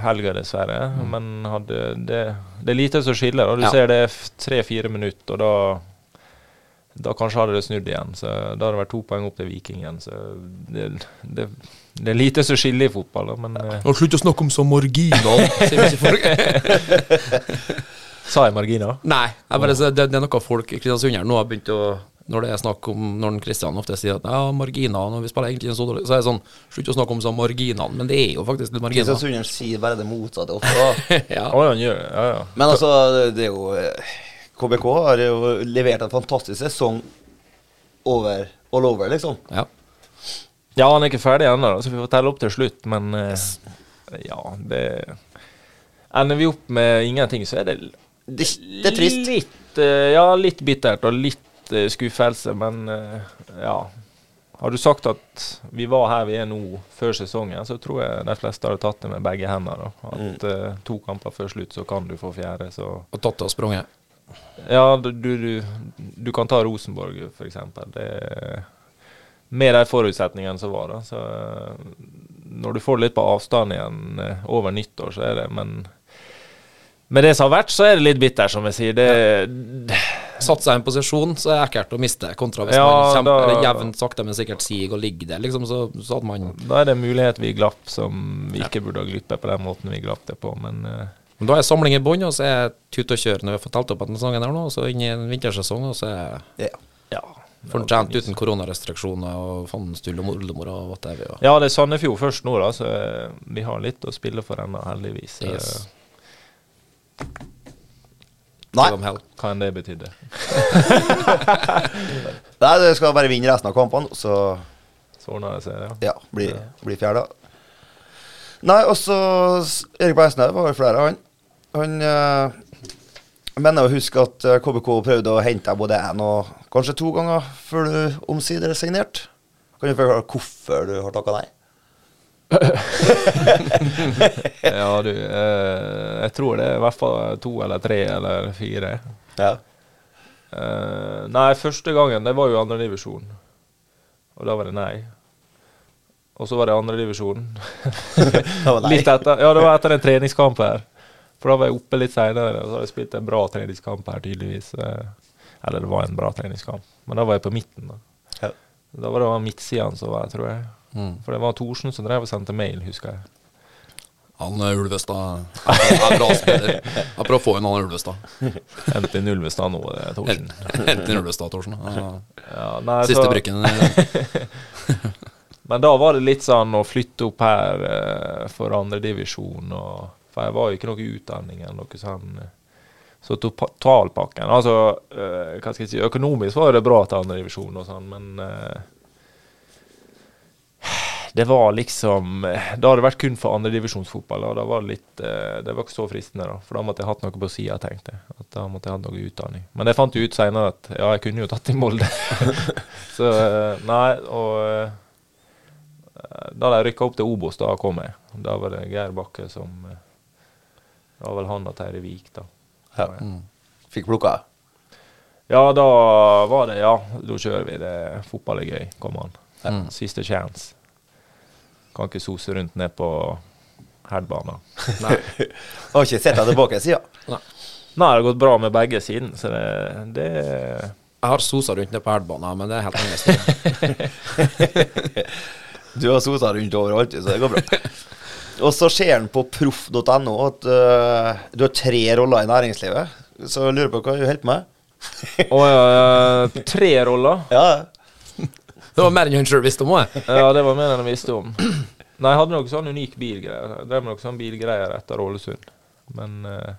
helga, dessverre. Men hadde det, det er lite som skiller. Og du Mm. Ja. ser det er tre-fire minutter, og da da kanskje hadde det snudd igjen. så Da hadde det vært to poeng opp til Viking igjen. Så det, det, det er lite som skiller i fotball, da, men eh, Slutt å snakke om så [LAUGHS] marginal, sier vi ikke folk. Sa jeg marginer? Nei, jeg bare, sier det, det er noe folk i Kristiansund her nå har begynt å Når det er snakk om Når Kristian ofte sier at ja, marginer når vi spiller egentlig ikke så dårlig, så er det sånn Slutt å snakke om sånn marginer, men det er jo faktisk litt marginer. Kristiansunderen sier bare det motsatte ofte. da. ja. Å ja, han gjør det. Ja, ja. Men altså, det er jo eh, KBK har jo levert en fantastisk sesong over all over, liksom. Ja. Ja, han er ikke ferdig ennå, da, så vi får telle opp til slutt, men eh, Ja, det Ender vi opp med ingenting, så er det Det, det er trist. Litt, eh, ja, litt bittert og litt eh, skuffelse, men eh, ja. Har du sagt at vi var her vi er nå, før sesongen, så tror jeg de fleste hadde tatt det med begge hender. Da. Mm. At eh, to kamper før slutt, så kan du få fjerde, så Og tatt av sprunget. Ja, du, du, du- du kan ta Rosenborg, for eksempel. Det, med de forutsetningene som var, da. Så, eh, når du får litt på avstand igjen eh, over nyttår, så er det Men med det som har vært, så er det litt bitter, som jeg sier. Det, Satser jeg en posisjon, så er det ekkelt å miste, kontra hvis Ja, man da- kjemper eller jevnt sakte, men sikkert siger og ligger der, liksom, så, så hadde man da er det en mulighet vi glapp som vi ikke burde ha glippet på den måten vi glapp det på, men eh, Men Da er samling i bånn, og så er det tut og kjør når vi har fått telt opp denne sesongen her nå, og så inn i en vintersesong, og så er Ja. ja. Fortjent uten koronarestriksjoner og fandens tull og oldemor og whatever. Ja. Ja, det er Sandefjord først nå, da, så eh, vi har litt å spille for ennå, heldigvis. Så, Yes. Nei, Give 'em hell. eh, Hva enn det betydde. nei, du skal bare vinne resten av kampene, så Så ordner det seg, ja. ja, blir blir fjerde. Nei, også s- Erik Beisnes var jo flere, han. Han eh, jeg mener å huske at eh, KBK prøvde å hente deg både én og kanskje to ganger før du omsider er signert. Kan du forklare hvorfor du har takka nei? Ja, du. Eh, jeg tror det er i hvert fall to eller tre eller fire. Ja. Eh, nei, første gangen, det var jo andredivisjon. Og da var det nei. Og så var det andredivisjon. var nei. litt etter, ja, det var etter en treningskamp her. For da var jeg oppe litt seinere, og så hadde jeg spilt en bra treningskamp her, tydeligvis. Eh, eller det var en bra treningskamp, men da var jeg på midten. da. Ja. Da var det han midtsidene som var her, tror jeg. Mm. For det var Thorsen som drev og sendte mail, husker jeg. Han er Ulvestad. Han er bra spiller. Apropos en annen Ulvestad. Enten Ulvestad nå, det er Thorsen. Enten Ulvestad, Torsen. Ja. Ja, nei, Siste så- bruken. eh, Men da var det litt sånn å flytte opp her eh, for andredivisjon og For jeg var jo ikke noe i utdanning eller noe sånn. Så totalpakken Altså, eh, hva skal jeg si Økonomisk var det bra til andredivisjon og sånn, men eh, det var liksom eh, Da hadde det vært kun for andredivisjonsfotball, og da var det litt eh, Det var ikke så fristende, da. For da måtte jeg hatt noe på sida, tenkte jeg. At da måtte jeg hatt noe utdanning. Men jeg fant jo ut seinere at ja, jeg kunne jo tatt i Molde. [LAUGHS] så eh, nei, og eh, da de rykka opp til Obos, da kom jeg. Da var det Geir Bakke som eh, Det var vel han og Terje Vik, da. Ja. Mm. Fikk plukka. Ja, da var det Ja, da kjører vi. det Fotball er gøy, kom han. Mm. Siste chance. Kan ikke sose rundt ned på Herdbana. Nei. [LAUGHS] Har ikke sett deg tilbake siden. Nei, det har gått bra med begge siden, så det, det Jeg har sosa rundt ned på Herdbanen, men det er helt annet sted. Du har sota rundt overalt, så det går [LAUGHS] bra. Og så ser han på proff.no at øh, du har tre roller i næringslivet. Så jeg lurer på hva du holder på med. Og eh, tre roller. Ja, Det var mer enn han sjøl visste om òg. Ja, det var mer enn jeg visste om. Nei, jeg hadde noe sånn unik bilgreier. Jeg drev med noe sånn bilgreier etter Ålesund. Men eh,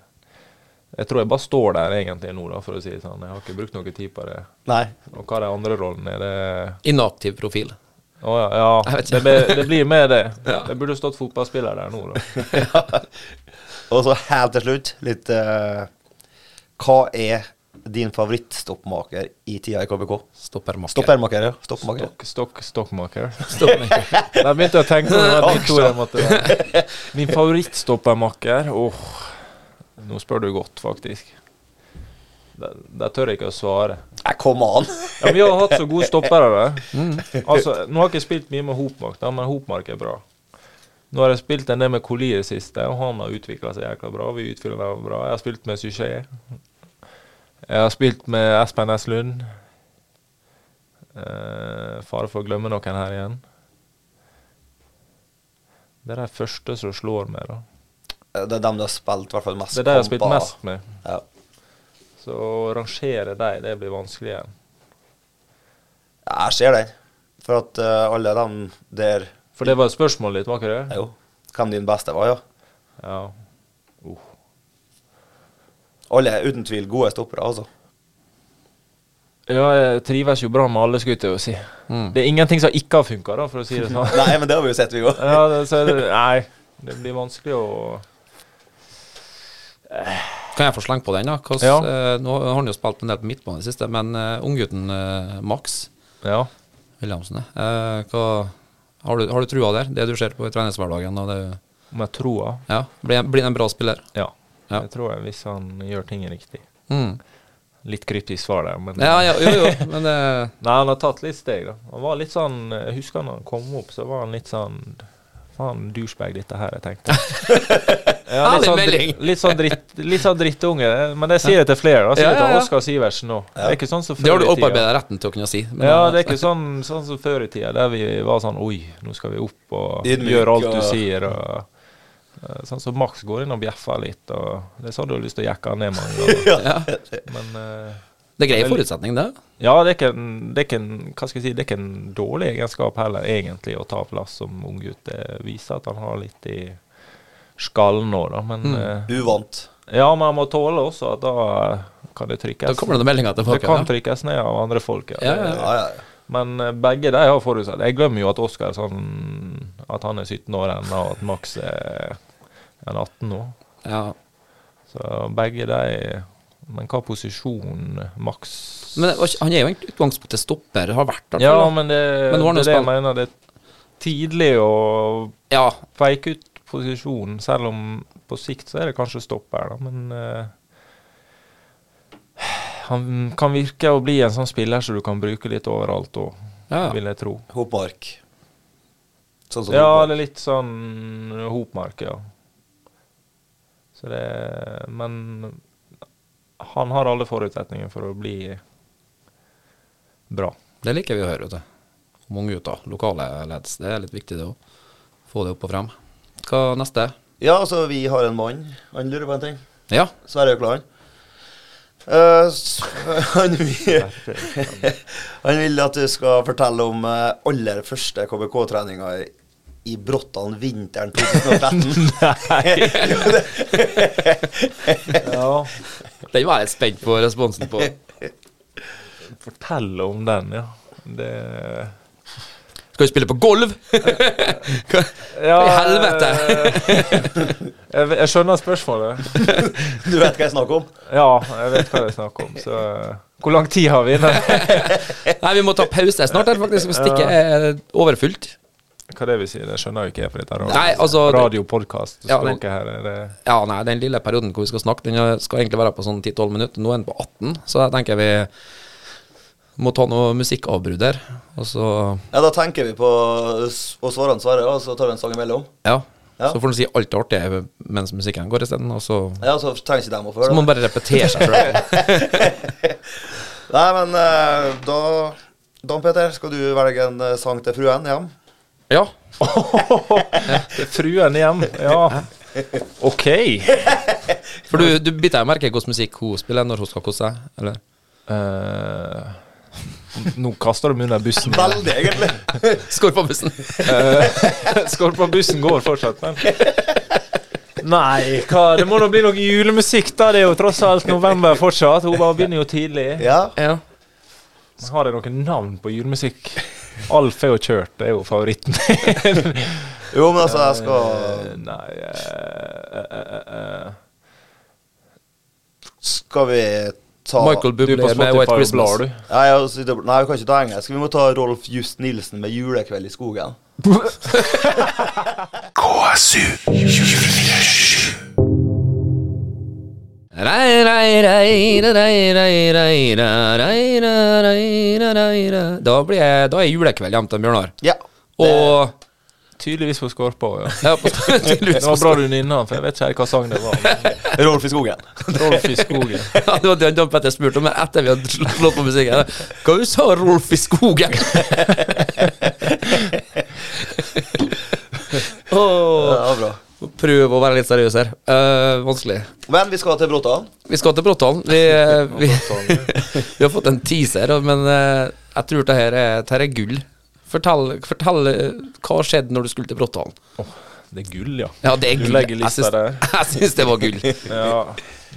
jeg tror jeg bare står der egentlig nå, da, for å si det sånn. Jeg har ikke brukt noe tid på det. [LAUGHS] Nei. Og hva de andre rollene er, det Inaktiv profil. Å ja, Jeg ja. vet Det, ikke. ble- det blir med [LAUGHS] det. Jeg burde stått fotballspiller der nå, da. Og så helt til slutt, litt øh, Hva er din favorittstoppmaker i tida i KBK? Stoppermakker. Stoppermaker, ja. Stoppmaker. Stokk, stokk, stokkmaker. Stoppermakker. [LAUGHS] Jeg begynte jeg å tenke på det var de to jeg måtte være. Min favorittstoppermakker Åh, nå spør du godt, faktisk. Der, der tør jeg ikke å svare. Nei, kom an! Ja, vi har hatt så gode stoppere. da. Altså, nå har jeg ikke spilt mye med Hopmark, da, men Hopmark er bra. Nå har jeg spilt en del med Koli i det siste, og han har utvikla seg jækla bra. Vi utfyller hverandre bra. Jeg har spilt med Suchet. Jeg har spilt med Espen S. Lund. Eh, fare for å glemme noen her igjen. Det er de første som slår meg, da. Det er dem du har spilt i hvert fall mest Det er de jeg har spilt kamper. mest med. Ja. Så å rangere dem, det blir vanskelig igjen. Ja, Jeg ser den. For at øh, alle dem der For det var spørsmålet ditt, var ikke det? Jo, hvem din beste var, ja. Ja. Uh. Alle er uten tvil gode stoppere, altså. Ja, jeg trives jo bra med alle, skulle jeg til å si. Det er ingenting som ikke har funka, for å si det sånn. Nei, men det har vi jo sett, vi òg. [LAUGHS] ja, det, så, er det- nei, det blir vanskelig å Kan jeg få slenge på den, da? Hvordan, Ja. eh, nå har han jo spilt en del på midtbane i det siste, men eh, unggutten eh, Max Ja. Williamsen, eh, hva har du, har du trua der? Det du ser på i treningshverdagen? og det- Om jeg tror han. Ja, blir blir han en bra spiller? Ja. Ja. Jeg tror jeg, hvis han gjør ting riktig. Mm. Litt kryptisk svar der, men Ja, ja, jo, jo, men [LAUGHS] det Nei, han har tatt litt steg, da. Han var litt sånn Jeg husker når han kom opp, så var han litt sånn Faen, douchebag, dette her, jeg tenkte. [LAUGHS] Ja, Ærlig litt, sånn, dri- melding. litt, sånn dritt, litt sånn drittunge, men det sier jeg til flere. Da. Jeg Sier Ja, det ja, til ja. Oskar Sivertsen òg. Det er ikke sånn som Det har før du i tida. opparbeida retten til å kunne si. men, Ja, eh, det er ikke sånn, sånn som før i tida, der vi var sånn Oi, nå skal vi opp og Ydmyk, gjøre alt du og- sier. Og, eh, sånn som Max går inn og bjeffer litt, og det er sånn du har lyst til å jekke han ned mange ganger. Men eh, Det er grei forutsetning, det. ja, det er, ikke en, det, er ikke en, hva skal jeg si, det er ikke en dårlig egenskap heller, egentlig, å ta plass som unggutt. Det viser at han har litt i skallen nå, da. Men Mm. eh, Uvant. ja, men han må tåle også at da kan det Da trykkes. kommer det noen meldinger det tilbake. kan ja. trykkes ned av andre folk. Ja, ja. Ja, ja, ja. Men eh, begge de har forutsatt. Jeg glemmer jo at Oskar er sånn At han er 17 år ennå, og at Max er en 18 nå. Ja. Så begge de Men hva posisjon Max Men det var ikke- han er jo egentlig utgangspunktet stopper, har vært der. Ja, tror jeg. men det, Men nå har han jo det er det jeg spilt- mener. Det er tidlig å ja. peke ut posisjonen, selv om på sikt så er det kanskje stopper, da, men eh, han kan virke å bli en sånn spiller som du kan bruke litt overalt òg, Ja. vil jeg tro. Hopmark. Sånn som Ja, Hopmark. det er litt sånn hopmark, ja. Så det Men han har alle forutsetninger for å bli bra. Det liker vi å høre. vet du. Om unge gutter. Lokale leds. Det er litt viktig, det òg. Få det opp og frem. Hva neste? ja, altså, vi har en mann. Han lurer på en ting. Ja. Sverre Økland. Eh, s- [LAUGHS] han, vil, [LAUGHS] han vil at du skal fortelle om eh, aller første KBK-treninga i, i Bråttan vinteren [LAUGHS] 2013. Ja, Den var jeg litt spent på responsen på. fortell om den, ja. Det Skal vi spille på [LAUGHS] golv? ja, eh, I helvete! jeg, jeg skjønner spørsmålet. du vet hva jeg snakker om? Ja, jeg vet hva det er snakk om, så eh, Hvor lang tid har vi? Hva Nei, vi må ta pause snart. her faktisk Stikket er overfylt. er det vi sier? Det skjønner jo ikke jeg, for dette er Nei, altså- radio, podcast, Ja, men- språket her. er Det, Ja, nei, Den lille perioden hvor vi skal snakke, den skal egentlig være på sånn 10-12 minutter. Nå er den på 18, så jeg tenker vi må ta noe musikkavbrudd her. Og så Ja, Da tenker vi på s- å svare han Sverre, og så tar vi en sang imellom. ja. Ja. Så får han si alt det artige mens musikken går isteden, og så, Ja, Så trenger ikke dem å så få høre må han det. bare repetere seg sjøl. [LAUGHS] Nei, men eh, da Dan Peter, skal du velge en eh, sang til fruen hjem? Ja. Fruen hjem, ja. OK. Eh, For du, du biter jo merke i hvordan musikk hun spiller når hun skal kose seg, eller? Eh, nå kaster du meg under bussen. Veldig, egentlig. Skorpabussen. Skorpa-bussen går fortsatt, men Nei, hva? det må nå bli noe julemusikk, da. Det er jo tross alt november fortsatt. Hun bare begynner jo tidlig. [LAUGHS] Ja. Ja. Men Har jeg noen navn på julemusikk? Alf er jo kjørt, det er jo favoritten min. Jo, men altså, jeg skal [LAUGHS] Nei eh, eh, eh, eh. Skal vi ta Michael Du er på Bublé med Spotify White og blar, Christmas. du. Nei, altså, det- nei, vi kan ikke ta engelsk. Vi må ta Rolf Just Nilsen med 'Julekveld i skogen'. KSU 247. Rei, rei, rei, rei, rei, rei, rei, rei, rei, rei, rei, rei. Da, blir jeg, da er julekveld hjemme til Bjørnar. Ja. Og Tydeligvis på Skorpa, ja. ja, på, [LAUGHS] tydeligvis Det var bra du nynna, for jeg vet ikke helt hva sang det var. [LAUGHS] men Rolf i skogen. Rolf i skogen. Ja, det var det Dan Petter spurte om etter vi hadde sl- slått på musikken. Hva du sa Rolf i skogen? Åh, Ja, bra. prøv å være litt seriøs her. Eh, vanskelig. Men vi skal til Bråtan. Vi skal til Bråtalen. Vi, eh, vi, [LAUGHS] vi har fått en teaser, men eh, jeg tror det her er, det her er gull. Fortell, fortell eh, hva skjedde når du skulle til Bråtalen. Det er gull, ja. Ja, det er Du gull. legger Jeg lista syns- der. [LAUGHS] Jeg syns det var [LAUGHS] gull. ja.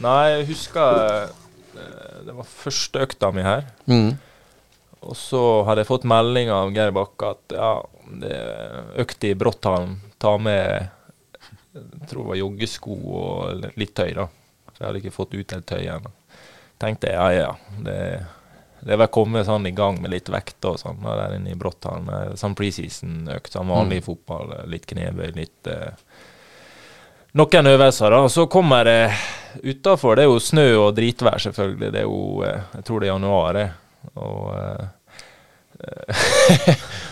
Nei, jeg husker eh, Det var første økta mi her. Mm. Og så hadde jeg fått melding av Geir Bakke at ja, det er økt i Bråtthallen. Ta med jeg tror det var joggesko og litt tøy, da. For jeg hadde ikke fått utdelt tøy ennå. Tenkte jeg ja, ja. Det, det er vel kommet sånn i gang med litt vekt og sånn da, der inne i Bråtthallen. eh, Sånn preseason-økt, sånn vanlig fotball. eh, Litt knebøy, litt eh, noen øvelser, da. og Så kommer det utafor. Det er jo snø og dritvær, selvfølgelig. Det er jo eh, Jeg tror det er januar, det. Og eh, [LAUGHS] eh,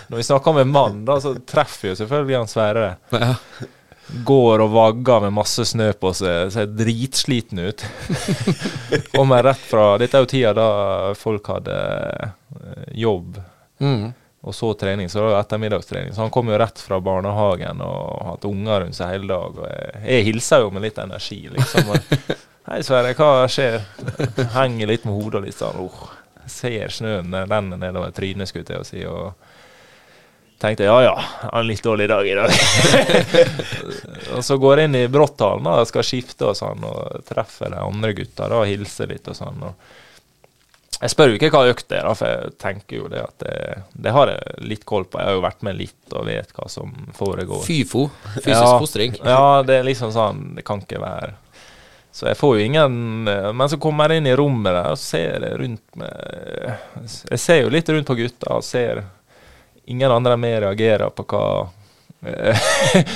Når vi snakker om en mann, da, så treffer jo selvfølgelig han Sverre. Ja. Går og vagger med masse snø på seg, ser dritsliten ut. [LAUGHS] Kommer rett fra Dette er jo tida da folk hadde eh, jobb Mm. og så trening, så det var ettermiddagstrening. Så han kom jo rett fra barnehagen og hatt unger rundt seg hele dag. Og jeg, jeg hilser jo med litt energi, liksom. Og, [LAUGHS] Hei, Sverre, hva skjer? Henger litt med hodet og litt sånn. Oh, ser snøen renne nedover trynet, skulle jeg til å si. og Tenkte ja ja, han er litt dårlig dag i dag. [LAUGHS] og så går jeg inn i Bråtthallen da, og skal skifte og sånn, og treffer de andre gutta da, og hilser litt og sånn. og jeg spør jo ikke hva økt det er, da, for jeg tenker jo det at det, det har jeg litt koll på. Jeg har jo vært med litt og vet hva som foregår. Fyfo. Fysisk Ja. fostring. Ja, det er liksom sånn Det kan ikke være Så jeg får jo ingen eh, Men så kommer jeg inn i rommet der og ser jeg rundt meg eh, Jeg ser jo litt rundt på gutta og ser Ingen andre enn meg reagerer på hva eh, [LAUGHS]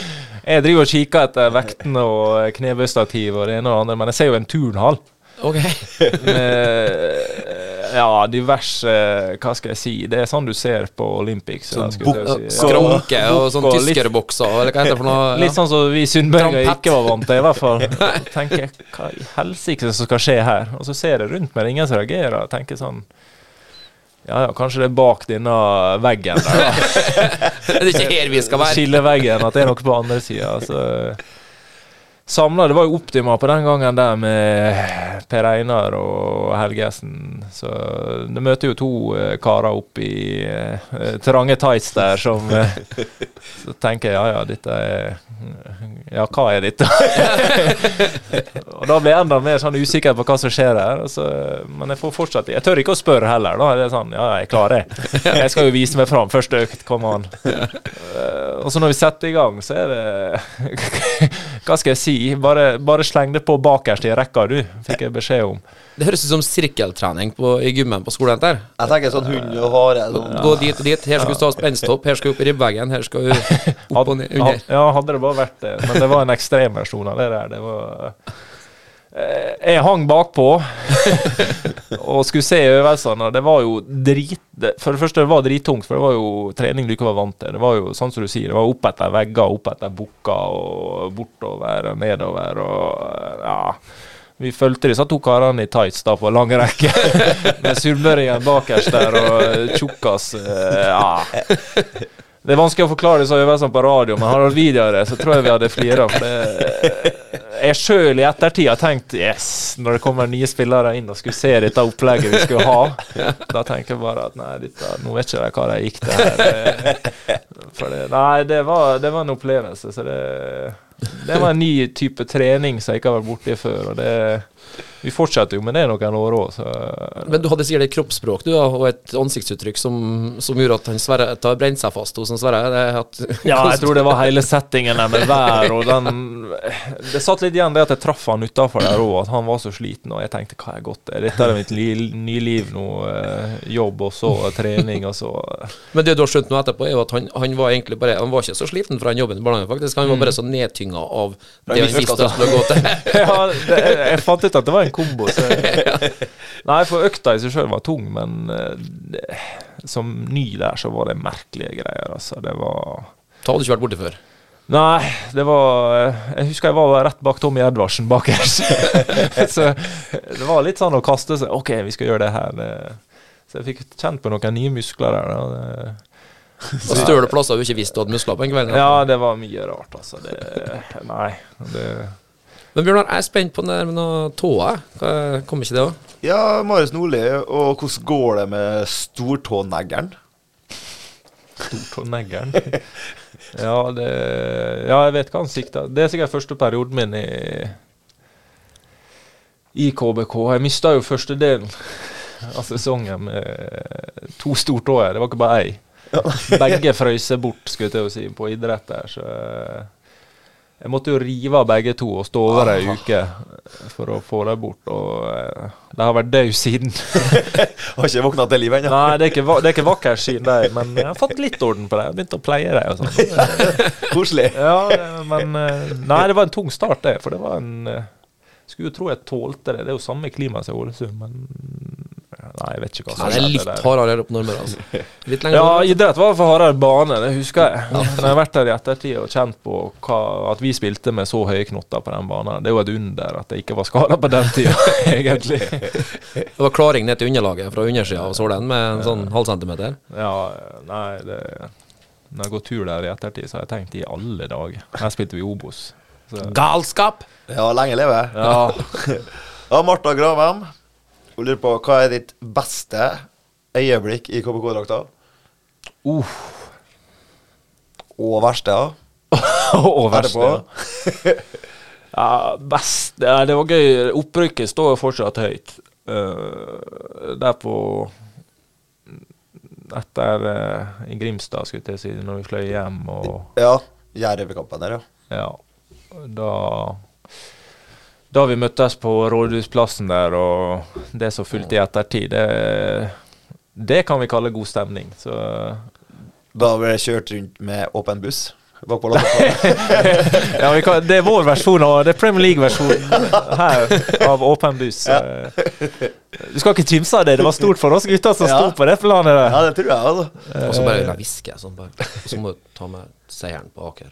Jeg driver og kikker etter vektene og knebøystativ og det ene og det andre, men jeg ser jo en turnhall Ok. med ja, diverse Hva skal jeg si? Det er sånn du ser på Olympics. eller skulle jeg til å si. bukser. Skranke og sånn Bukk og litt- tyskerbokser, eller hva heter det for noe? [LAUGHS] Litt sånn som vi sunnmøringer Trampett. ikke var vant til, i hvert fall. Da tenker jeg, hva i helsike som skal skje her? Og så ser jeg rundt meg, det er ingen som reagerer. Jeg tenker sånn Ja ja, kanskje det er bak denne veggen der. da. Ja. Det er ikke her vi skal være. Skilleveggen, at det er noe på andre sida. Så samla Det var jo Optima på den gangen der med Per Einar og Helgesen. Så du møter jo to eh, karer opp i eh, trange tights der som eh, Så tenker jeg ja, ja, dette er Ja, hva er dette? [LAUGHS] og da blir jeg enda mer sånn usikker på hva som skjer her. og så- men jeg får fortsatt Jeg tør ikke å spørre heller. Da er det sånn Ja, ja, jeg klarer det. Jeg skal jo vise meg fram. Første økt, kom an. Eh, Og så når vi setter i gang, så er det [LAUGHS] Hva skal jeg si? Bare, bare sleng det på bakerst i rekka, du, fikk jeg beskjed om. Det høres ut som sirkeltrening på, i gymmen på skolen der. Jeg tenker sånn hund og hare. Sånn. Gå dit og dit. Her skal du stå spenstopp, her skal du opp i ribbeveggen, her [LAUGHS] skal du opp og ned Had- under. Ja, hadde det bare vært det. Men det var en ekstremversjon av det der. Det var Eh, Jeg hang [LAUGHS] bakpå og skulle se øvelsene, og det var jo drit det- For det første, det var drittungt, for det var jo trening du ikke var vant til. Det var jo sånn som du sier, det var opp etter vegger, opp etter bukker, og bortover og nedover og eh, Ja. Vi fulgte disse to karene i tights da på lang rekke, [LAUGHS] med sunnmøringen bakerst der og tjukkas eh, Ja. Det er vanskelig å forklare disse øvelsene sånn på radio, men hadde det vært video av det, så tror jeg vi hadde flira. For det Jeg sjøl i ettertid har tenkt yes, når det kommer nye spillere inn og skulle se dette opplegget vi skulle ha, da tenker jeg bare at nei, dette, nå vet ikke jeg hva de gikk til her. Det- For det, nei, det var, det var en opplevelse, så det Det var en ny type trening som jeg ikke har vært borti før, og det Vi fortsetter jo med det noen år òg, så Men du hadde sikkert et kroppsspråk du da, og et ansiktsuttrykk som, som gjorde at han Sverre det har brent seg fast hos han Sverre. Det er at, Ja, jeg tror det var hele settingen der med vær og den Det satt litt igjen det at jeg traff han utafor der òg, at han var så sliten, og jeg tenkte hva er godt er dette er mitt li nye liv nå, eh, jobb og så trening og så Men det du har skjønt nå etterpå, er jo at han, han var egentlig bare Han var ikke så sliten fra den jobben i barnehagen, faktisk. Mm. Han var bare så nedtynga av det han visste altså- han skulle gå til. [LAUGHS] [LAUGHS] Ja, det, jeg fant ut at det var en kombo, så [LAUGHS] Nei, for økta i seg sjøl var tung, men eh, det, som ny der så var det merkelige greier, altså. Det var Det hadde du ikke vært borti [LAUGHS] før. Nei, det var eh, Jeg husker jeg var rett bak Tommy Edvardsen bakerst. [LAUGHS] så det var litt sånn å kaste seg OK, vi skal gjøre det her. Det- Så jeg fikk kjent på noen nye muskler der. Da. Det- Og støle plasser du ikke visste du hadde muskler på den kvelden. Ja, det var mye rart, altså. Det, nei. Det, Men Bjørnar, jeg er spent på den der med noen tåa. Hva- Kommer ikke det òg? Ja, Marius Nordli, og hvordan går det med stortåneggeren? Stortåneggeren. Ja, det, ja, jeg vet hva han sikter Det er sikkert første perioden min i, i KBK. Jeg mista jo første delen av sesongen med to stortåer. Det var ikke bare ei. Begge frøys bort, skulle jeg til å si, på idrett der, så jeg måtte jo rive av begge to og stå over ei uke for å få dem bort. Og eh, de har vært døde siden. Har ikke våkna til liv ennå. Nei, det er ikke, va- det er ikke vakkert siden det, men jeg har fått litt orden på det. Jeg har begynt å pleie det. og sånn. [LAUGHS] Koselig. Ja, det- men eh, Nei, det var en tung start, det. For det var en eh, Skulle jo tro jeg tålte det. Det er jo samme klima som i Ålesund, men Nei, jeg vet ikke hva som Ja, det er skjedde litt der. hardere her oppe normer, [LAUGHS] altså. Litt lenger Ja, nordover. idrett var for hardere bane, det husker jeg. Men jeg har vært der i ettertid og kjent på hva, at vi spilte med så høye knotter på den banen. Det er jo et under at jeg ikke var skada på den tida, [LAUGHS] egentlig. Det var klaring ned til underlaget fra undersida av sålen med en sånn halv centimeter. Ja, nei, det Når jeg går tur der i ettertid, så har jeg tenkt i alle dager. Her spilte vi Obos. Så, Galskap! Ja, lenge leve. ja, Ja, Marta Gravem, hun lurer på hva er ditt beste øyeblikk i KBK-drakta? uh, Og verste, ja. [LAUGHS] og verst, Etterpå. ja. Ja, best ja, Det var gøy. Opprykket står jo fortsatt høyt. Eh, der på mm, Etter eh, i Grimstad, skulle jeg til å si, når vi fløy hjem og Ja. Jervekampen der, ja. Ja. Da Da vi møttes på Rådhusplassen der, og det som fulgte i ettertid, det, det kan vi kalle god stemning. Så Da ble jeg kjørt rundt med åpen buss. Bakpå landet. [LAUGHS] [LAUGHS] Ja, vi kan, det er vår versjon av Det er Premier League-versjonen her av åpen buss. Du skal ikke kimse av det. Det var stort for oss gutter som Ja. sto på det planet der. Ja, det tror jeg, altså. Og så Eh. bare la hviske. Sånn, bare. og så må du ta med seieren på Aker.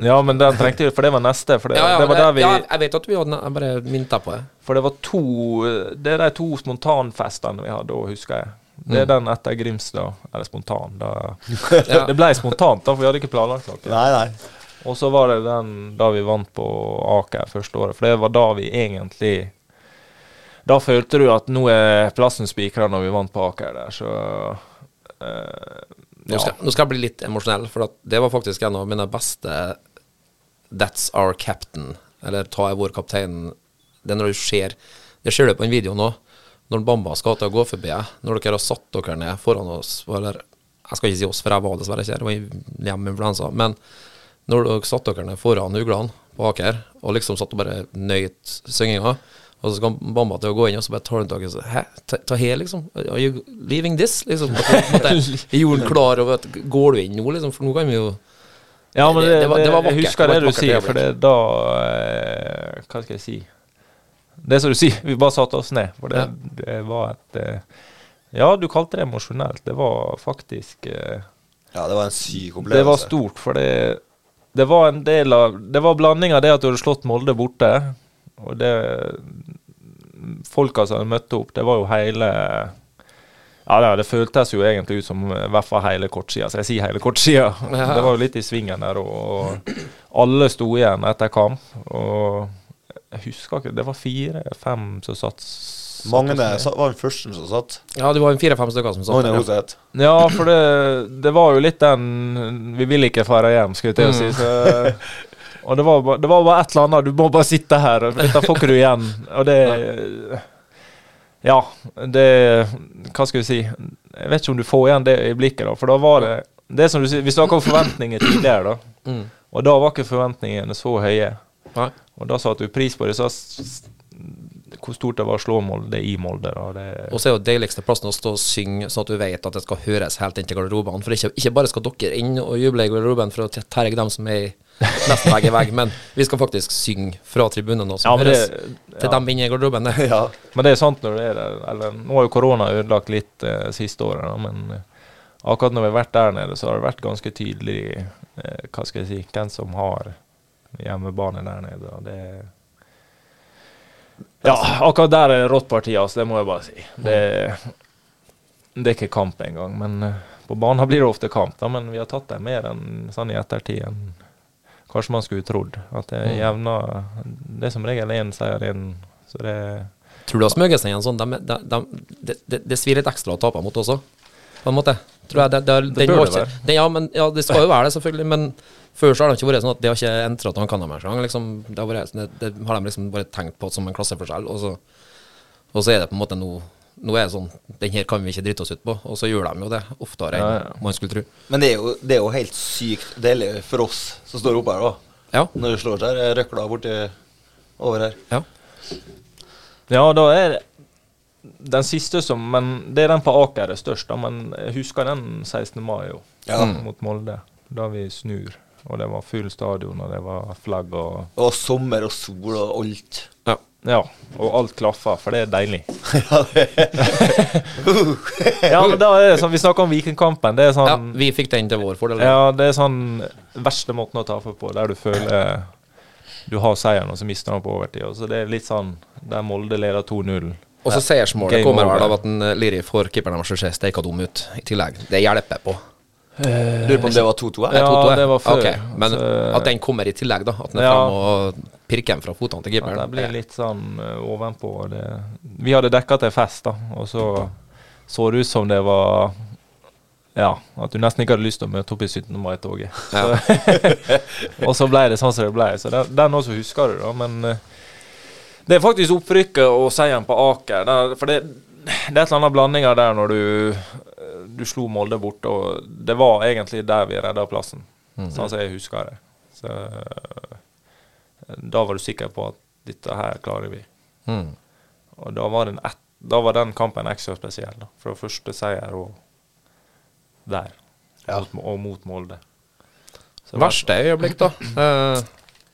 Ja, men den trengte vi, for det var neste. For det, Ja, ja, det var jeg, der vi ja, jeg vet at vi hadde Jeg bare minnet deg på det. For det var to Det er de to spontanfestene vi hadde, og husker jeg. Det er den etter Grimstad. Eller spontan. Da. Mm. Ja. Det ble spontant, da, for vi hadde ikke planlagt noe. Nei, nei. Og så var det den da vi vant på Aker første året, for det var da vi egentlig Da følte du at nå er plassen spikra når vi vant på Aker der, så eh, Nå skal, nå skal jeg bli litt emosjonell, for at det var faktisk en av mine beste That's our captain, eller Ta er vår kaptein. Det er når du ser Det ser du på en video nå, når Bamba skal til å gå forbi deg, når dere har satt dere ned foran oss, eller Jeg skal ikke si oss, for jeg var dessverre ikke her, det var hjemme influensa, men når dere satt dere ned foran uglene på Aker, og liksom satt og bare nøyt synginga, og så kom Bamba til å gå inn, og så bare tar han tak i seg Hæ? Ta, ta her, liksom? Are you leaving this? Liksom. På en måte. Jeg gjorde han klar over at Går du inn nå, liksom? For nå kan vi jo Ja, men det, det var- det var jeg vakkert. husker Det var det, et du vakkert sier, for det er da eh, Hva skal jeg si? Det er som du sier, vi bare satte oss ned. For det, Ja. det var et eh, Ja, du kalte det emosjonelt. Det var faktisk eh, Ja, det var en syk opplevelse. Det var stort, for det, det var en del av Det var blanding av det at du hadde slått Molde borte, og det Folka som hadde møtt opp, det var jo hele ja, det, det føltes jo egentlig ut som eh, i hvert fall hele kortsida, så jeg sier hele kortsida. Ja. Det var jo litt i svingen der, og, og alle sto igjen etter kamp. Og jeg husker ikke, det var fire-fem som satt satt Magne oss ned. sa- var den første som satt. Ja, det var en fire-fem stykker som satt Magne der. Hoseth. Ja, for det, det var jo litt den Vi vil ikke fare hjem, skulle jeg til å si. Eh, Så, og det var, ba- det var bare et eller annet. Du må bare sitte her, og dette får ikke du igjen. Og det Ja, det Hva skal vi si? Jeg vet ikke om du får igjen det øyeblikket, da. For da var det Det er som du sier, vi snakka om forventninger tidligere, da. Og da var ikke forventningene så høye. Nei. Og da satte du pris på det. Så s- hvor stort det var å slå Molde i Molde, da. Det, Og så er jo deiligste plassen å stå og synge, sånn at du vet at det skal høres helt inn til garderobene. For ikke, ikke bare skal dere inn og juble i garderoben for å te- terge dem som er i nesten vegg i vegg, men vi skal faktisk synge fra tribunene og Ja, som men høres det- til dem inne i garderoben. [LAUGHS] Det. Ja. Men det er sant når det er der. Eller, nå har jo korona ødelagt litt eh, siste året, da, men eh, akkurat når vi har vært der nede, så har det vært ganske tydelig eh, hva skal jeg si, hvem som har hjemmebane der nede. Og det Ja, akkurat der er det rått parti, altså. Det må jeg bare si. Det, det er ikke kamp engang. Men eh, på banen blir det ofte kamp, da, men vi har tatt det mer enn sånn i ettertid. enn Kanskje man skulle trodd at det er jevna Det er som regel én seier inn, så det Tror du at Smøgesen er en sånn de, de, de, Det de, svir litt ekstra å tape mot også, på en måte? tror jeg. Det, det, Det den bør var det ikke, den, ja, men, ja, det skal jo være det, selvfølgelig. Men før så har det ikke vært sånn at det har ikke entra til han Canada-sjang. Liksom, det, har vært- det, det har de liksom bare tenkt på som en klasseforskjell. Og så, og så er det på en måte nå Nå er det sånn Den her kan vi ikke drite oss ut på. Og så gjør de jo det oftere enn Ja, ja. man skulle tro. Men det er, jo, det er jo helt sykt deilig for oss som står oppe her, da. Ja. Når det slår seg, røkla borti over her. ja. Ja, da er det den siste som Men det er den på Aker er størst, da. Men jeg husker den 16. mai jo, Ja. mot Molde. Da vi snur. Og det var full stadion, og det var flagg og Og sommer og sol og alt. [LAUGHS] ja. Ja, og alt klaffer, for det er deilig. Ja, det- [LAUGHS] Uh. Ja, men da er det sånn, Vi snakker om Vikingkampen. Det er ja sånn vi fikk den til vår fordel. Ja, det er sånn verste måten å tape på, der du føler du har seieren, og så mister han på overtid. Og så det er litt sånn der Molde leder 2-0. Og så seiersmålet Game kommer over. vel av at en eh, Liri får keeperen deres til å se steika dum ut i tillegg. Det hjelper på. Lurer på om det var eh? 2-2? Det er jeg. Eh, Ja, 2-2, det var før. Ok, Men Så- at den kommer i tillegg, da. At den er Ja. frem og pirker den fra fotene til At det keeperen. blir litt sånn eh, ovenpå. og Det. Vi hadde dekka til fest, da, og så så det ut som det var Ja, at du nesten ikke hadde lyst til å møte opp i 17. mai-toget. Ja. [LAUGHS] og så ble det sånn som det ble. Så den, den også husker du, da. Men eh, det er faktisk opprykket og seieren på Aker. Der, for det, det er et eller annet blandinger der når du eh, du slo Molde borte, og det var egentlig der vi redda plassen. Sånn som jeg husker det. Så, eh, da var du sikker på at dette her klarer vi. Mm. Og da var, den et, da var den kampen ekstra spesiell. Da. Fra første seier og der. Mot, og mot Molde. Så det var- Eh, Verste øyeblikk, da. Eh,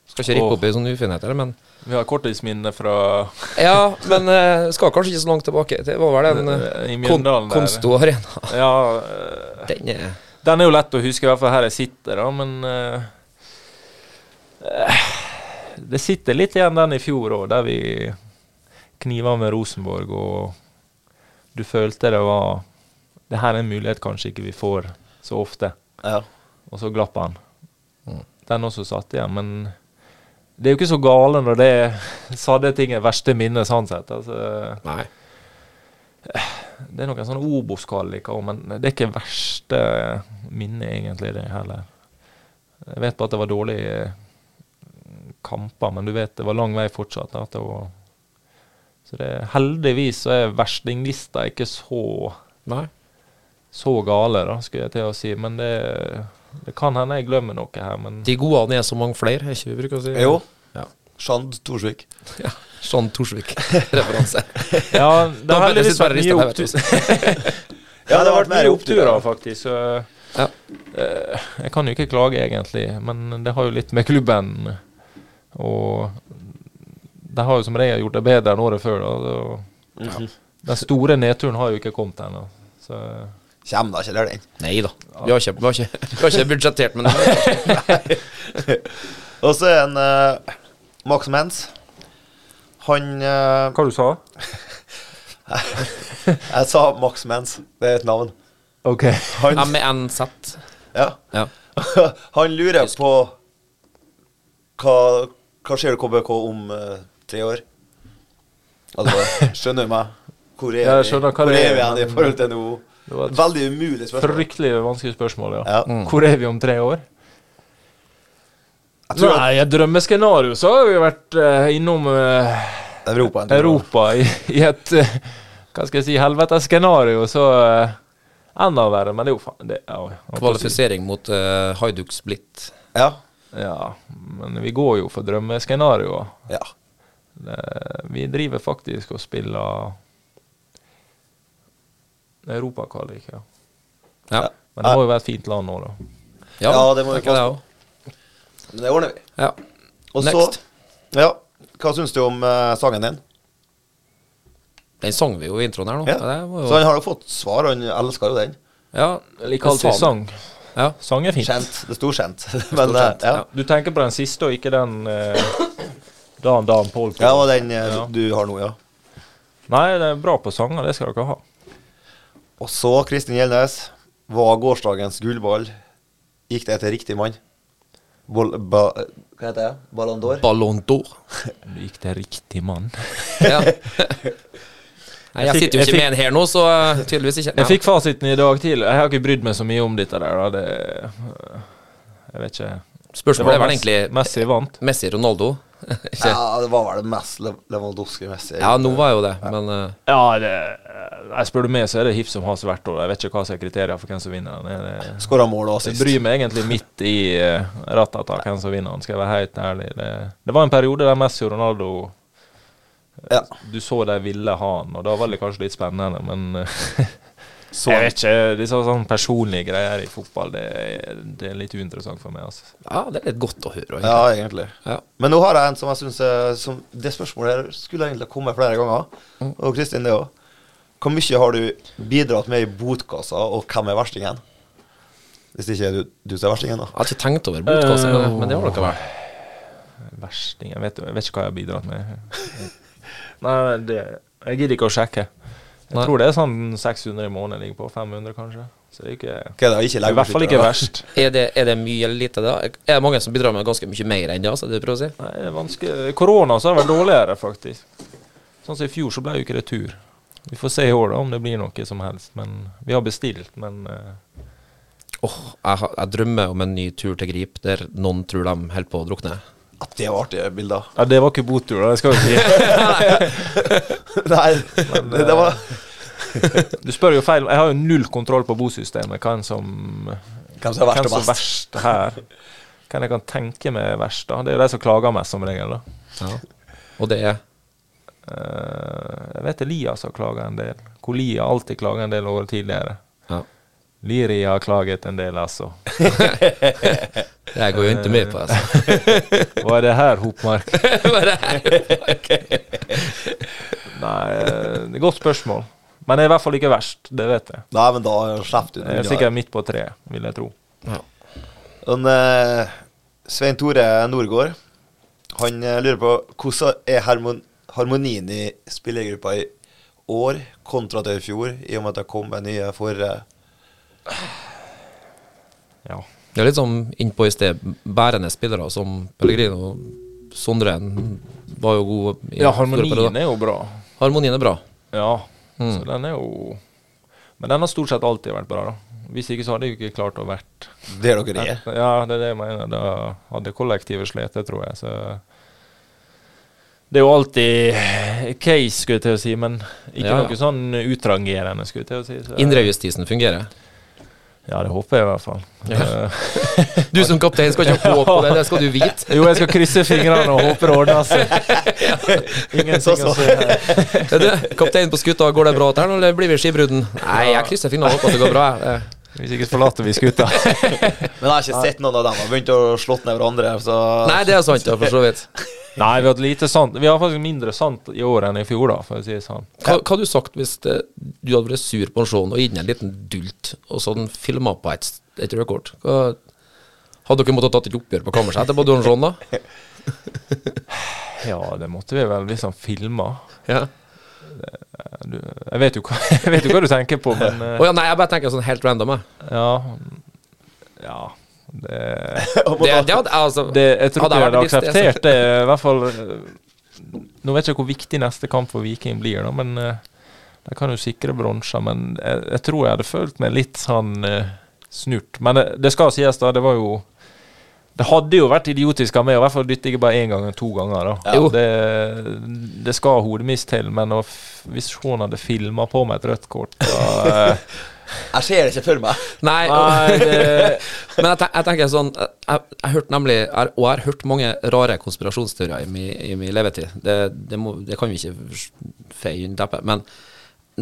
skal ikke rippe sånn. Åh. opp i sånne ufinheter, men Vi har korttidsminne fra Ja, [LAUGHS] men eh, skal kanskje ikke så langt tilbake. Det var vel den I eh, kon Mjøndalen der. Konsto Arena. [LAUGHS] [LAUGHS] Ja, eh, Den er den er jo lett å huske, i hvert fall her jeg sitter, da, men eh, eh, Det sitter litt igjen den i fjor òg, der vi kniva med Rosenborg, og du følte det var Det her er en mulighet kanskje ikke vi får så ofte. Ja. Og så glapp han. Den også satt igjen, men det er jo ikke så gale når det er [LAUGHS] sadde ting er verste minne, sånn sett. Altså, Nei. det er noen sånne Obos-kall jeg liker òg, men det er ikke verste minne, egentlig, det heller. Jeg vet bare at det var dårlige eh, kamper, men du vet det var lang vei fortsatt. da, At det var så det, heldigvis så er verstinglista ikke så Nei. så gale, da, skulle jeg til å si. Men det, det kan hende jeg glemmer noe her, men De godene er så mange flere, er ikke vi bruker å si? Jo. Ja. Sjand Torsvik. ja. Sånn [LAUGHS] Torsvik-referanse. Ja, det Da har ble det heldigvis siste vært bare mye ristet, jeg vet opptur. [LAUGHS] Ja, det har vært mye oppturer, faktisk. Så Ja. eh, jeg kan jo ikke klage, egentlig. Men det har jo litt med klubben Og de har jo som regel gjort det bedre enn året før. Da. så- Mhm. Den store nedturen har jo ikke kommet ennå. Så Kjem da ikke der, den. Nei da. Vi har ikke, vi har ikke, vi har ikke budsjettert, men [LAUGHS] Og så er en eh, Max Mens. Han eh, Hva du sa du? Jeg sa Max Mens. Det er et navn. OK. Han, MNZ. ja. Ja. [LAUGHS] han lurer på hva, hva skjer i KBK om eh, tre år? Altså, skjønner du meg? Hvor er, Ja, jeg vi? skjønner hva Hvor det er er, vi igjen i men- forhold til nå? Det var et Veldig umulig spørsmål. fryktelig vanskelig spørsmål, ja. Ja. Hvor er vi om tre år? Jeg tror Nei, et drømmescenario så har vi vært eh, innom eh, at Europa er en tur. Europa i, i et eh, Hva skal jeg si helvetes scenario, så eh, Enda verre, men det er jo faen det, ja, jeg holdt på å si- Kvalifisering mot eh, Hajduk Split. Ja. Ja, men vi går jo for drømmescenarioer. ja. Det- Vi driver faktisk og spiller Europakvalik, ja. Ja. Men det må jo være et fint land nå, da. Ja, det må vi tenker jeg passe Men det ordner vi. også. Ja. Og Next. så Ja. Hva syns du om eh, sangen din? Den sang vi jo i introen her nå. Ja. Ja, det var Så jo, han har jo fått svar, han elsker jo den. ja, Jeg liker alltid Same. sang. Ja. Sang er fint. Kjent. Det sto kjent. [LAUGHS] Men eh, kjent, ja. Du tenker på den siste, og ikke den eh, Dan Dan Polk. ja, det var den eh, Ja. du har nå, ja. Nei, det er bra på sanger, det skal dere ha. Og så, Kristin Gjelnes, var gårsdagens gullball Gikk det til riktig mann? Bol ba Hva heter det? Ballon d'Or? Ballon d'Or. [LAUGHS] Du gikk til riktig mann. Ja. Nei, jeg Jeg fikk- sitter jo jeg ikke med en her nå, så eh, tydeligvis ikke. Jeg fikk fasiten i dag tidlig. Jeg har ikke brydd meg så mye om dette der. da. Det, jeg vet ikke. Det Spørsmålet var er vel Messi- egentlig Messi vant. Messi Ronaldo. ikke? Ja, det var vel det mest Lev- Lewandowski-messige. Ja, nå var jo det, men eh, Ja, det, jeg spør du meg, så er det hipp som has hvert år. Jeg vet ikke hva som er kriteriene for hvem som vinner. den. Det, det, Skåra mål og Så jeg assist. bryr meg egentlig midt i uh, rattata hvem som vinner den, skal jeg være helt ærlig. Det, det var en periode der Messi og Ronaldo Ja. Du så de ville ha han, og da var det kanskje litt spennende, men eh, [LAUGHS] Så- Jeg vet ikke, disse sånne personlige greier i fotball, det, er- det er litt uinteressant for meg. Altså. ja, det er litt godt å høre. egentlig. Ja, egentlig. Ja. Men nå har jeg en som jeg syns som Det spørsmålet her skulle egentlig komme flere ganger. Mm. Og Kristin, det òg. Hvor mye har du bidratt med i botkassa, og hvem er verstingen? Hvis ikke er du, du som er verstingen, da. Jeg har ikke tenkt over botkassa, men- men det har dere vel. Versting jeg vet, jeg vet ikke hva jeg har bidratt med. [LAUGHS] Nei, det, Jeg gidder ikke å sjekke. Jeg Nei. tror det er sånn 600 i måneden jeg ligger på. 500, kanskje. Så det er ikke Okay, det er ikke det er I hvert fall ikke legebeskyttere, da. verst. Er det, er det mye eller lite, da? Er det mange som bidrar med ganske mye mer enn det? Altså, det du prøver å si? Nei, det er vanskelig. Korona så har det vært dårligere, faktisk. Sånn som i fjor, så ble jo ikke det tur. Vi får se i år da om det blir noe som helst. Men vi har bestilt, men eh, Åh, jeg, har- jeg drømmer om en ny tur til Grip, der noen tror de holder på å drukne. At det var artige [LAUGHS] bilder. Ja, det var ikke botur, da. Det skal vi si. Nei, det, det var [LAUGHS] eh, Du spør jo feil. Jeg har jo null kontroll på bosystemet. Hvem som, hvem som er verst hvem og som er best. verst her. Hvem jeg kan tenke meg er verst, da. Det er jo de som klager mest, som regel. da. Ja. Og det er Eh, jeg vet Elias har klaga en del. Kolia har alltid klaga en del år tidligere. ja. Liri har klaget en del, altså. Det går jo ikke med på, altså. Hva er det her, Hopmark? Bare- [LAUGHS] Nei, eh, det er godt spørsmål. Men det er i hvert fall ikke verst, det vet jeg. Nei, men da slipper du Jeg er den unna. sikkert midt på treet, vil jeg tro. ja. Men, eh, Svein Tore Norgård Han eh, lurer på hvordan er harmon harmonien i spillergruppa i år kontra til i fjor, i og med at det kom med nye for eh, Ja. Det er litt sånn innpå i sted, bærende spillere som Pellegrino. Sondre var jo god. i ja, store harmonien eh? perioder. er jo bra. harmonien er bra. Ja, Mm. så den er jo Men den har stort sett alltid vært bra, da. Hvis ikke så hadde jeg jo ikke klart å vært der dere er? Ja, det er det jeg mener. Da hadde kollektivet slitt, det tror jeg. Så det er jo alltid case, skulle jeg til å si, men ikke Ja, ja. noe sånn utrangerende, skulle jeg til å si. Så. Indrejustisen fungerer. Ja, det håper jeg i hvert fall. Eh, Du som kaptein skal ikke håpe på det, det skal du vite. Jo, jeg skal krysse fingrene og håpe det [LAUGHS] ordner seg. Ingenting å si her. Er du kaptein på skuta, går det bra til her nå, eller blir vi skibrudden? Nei, jeg krysser fingrene og håper at det går bra. jeg. Hvis ikke så forlater vi skuta. Men jeg har ikke sett noen av dem. Har begynt å slått ned hverandre. Så Nei, det er sant, ja, for så vidt. Nei, vi har hatt lite sant. Vi har faktisk mindre sant i år enn i fjor, da, for å si det sånn. Hva, hva hadde du sagt hvis det, du hadde vært sur på en show og gitt den en liten dult, og så den filma på et, et rødt kort? Hva, hadde dere måttet tatt et oppgjør på kammerset etterpå, du og Sean, da? Ja, det måtte vi vel liksom hvis han filma. Ja. Du, jeg, vet jo hva, [LAUGHS] jeg vet jo hva du tenker på, men eh, ja, nei, jeg bare tenker sånn helt random, jeg. ja. Ja. Det, Det, det hadde, altså, det, jeg tror ikke jeg hadde vært i sted, akseptert det, i hvert fall eh, Nå vet jeg ikke hvor viktig neste kamp for Viking blir, da, men eh, de kan jo sikre bronser. Men jeg, jeg tror jeg hadde følt meg litt sånn eh, snurt. Men det, det skal sies, da, det var jo Det hadde jo vært idiotisk av meg å i hvert fall dytte ikke bare én gang, men to ganger. da. Jo. Det, det skal hodemist til, men å f hvis Sean hadde filma på meg et rødt kort da, eh, Jeg ser det ikke for meg. så- Nei, Nei, det- [LAUGHS] men jeg, ten- jeg tenker sånn Jeg, jeg, jeg hørte nemlig jeg, Og jeg har hørt mange rare konspirasjonsteorier i min, i min levetid. Det, det, må, det kan vi ikke feie under teppet. Men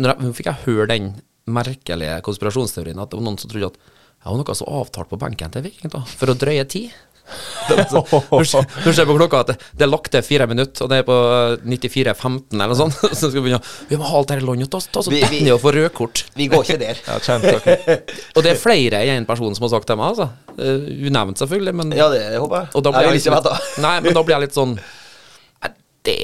når jeg, nå fikk jeg høre den merkelige konspirasjonsteorien at det var noen som trodde at jeg var noe som avtalt på benken til Viking da, for å drøye tid. [LAUGHS] Det var sånn- Du ser du ser på klokka at det, det er lagt til fire minutter, og det er på 94.15 eller noe sånt. [LAUGHS] Så skal vi begynne Vi må ha alt her i landet, ta, ta så Vi- vi- Benny og få rødkort. Vi går ikke der. Jeg har kjent dere. Og det er flere enn én person som har sagt til meg, altså. Eh, Unevnt, selvfølgelig, men Ja, det håper jeg. og da blir jeg vil jeg liksom- ikke litt- [LAUGHS] vite. Nei, men da blir jeg litt sånn Nei, det,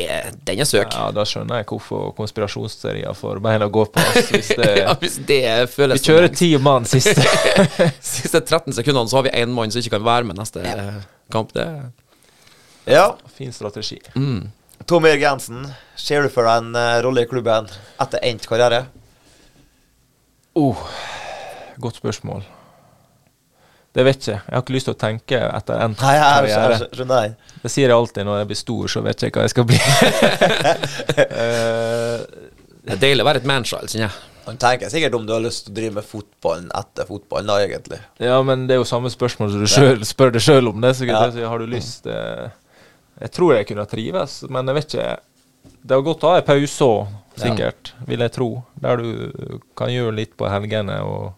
Den er søk. Ja, da skjønner jeg hvorfor konspirasjonsteorier får beina å gå på. ass, hvis det, [LAUGHS] Ja, hvis det føles Vi kjører som ti mann siste. siste 13 sekundene, så har vi én mann som ikke kan være med neste eh, kamp. Det Ja. Mm. Fin strategi. Tom Jørg Jensen, ser du for deg en eh, rolle i klubben etter endt karriere? Oh, godt spørsmål. Det vet jeg ikke. Jeg har ikke lyst til å tenke etter endt Nei, jeg, jeg, karriere. jeg skjønner den. Det sier jeg alltid når jeg blir stor, så vet jeg ikke hva jeg skal bli. [LAUGHS] Eh, Det er deilig å være et manchild, kjenner jeg. Han tenker sikkert om du har lyst til å drive med fotballen etter fotballen, da, egentlig. ja, men det er jo samme spørsmål som du selv, spør deg sjøl om det. Så Ja. så har du lyst eh, Jeg tror jeg kunne trives, men jeg vet ikke. Det er godt å ha en pause òg, sikkert, vil jeg tro. Der du kan gjøre litt på helgene, og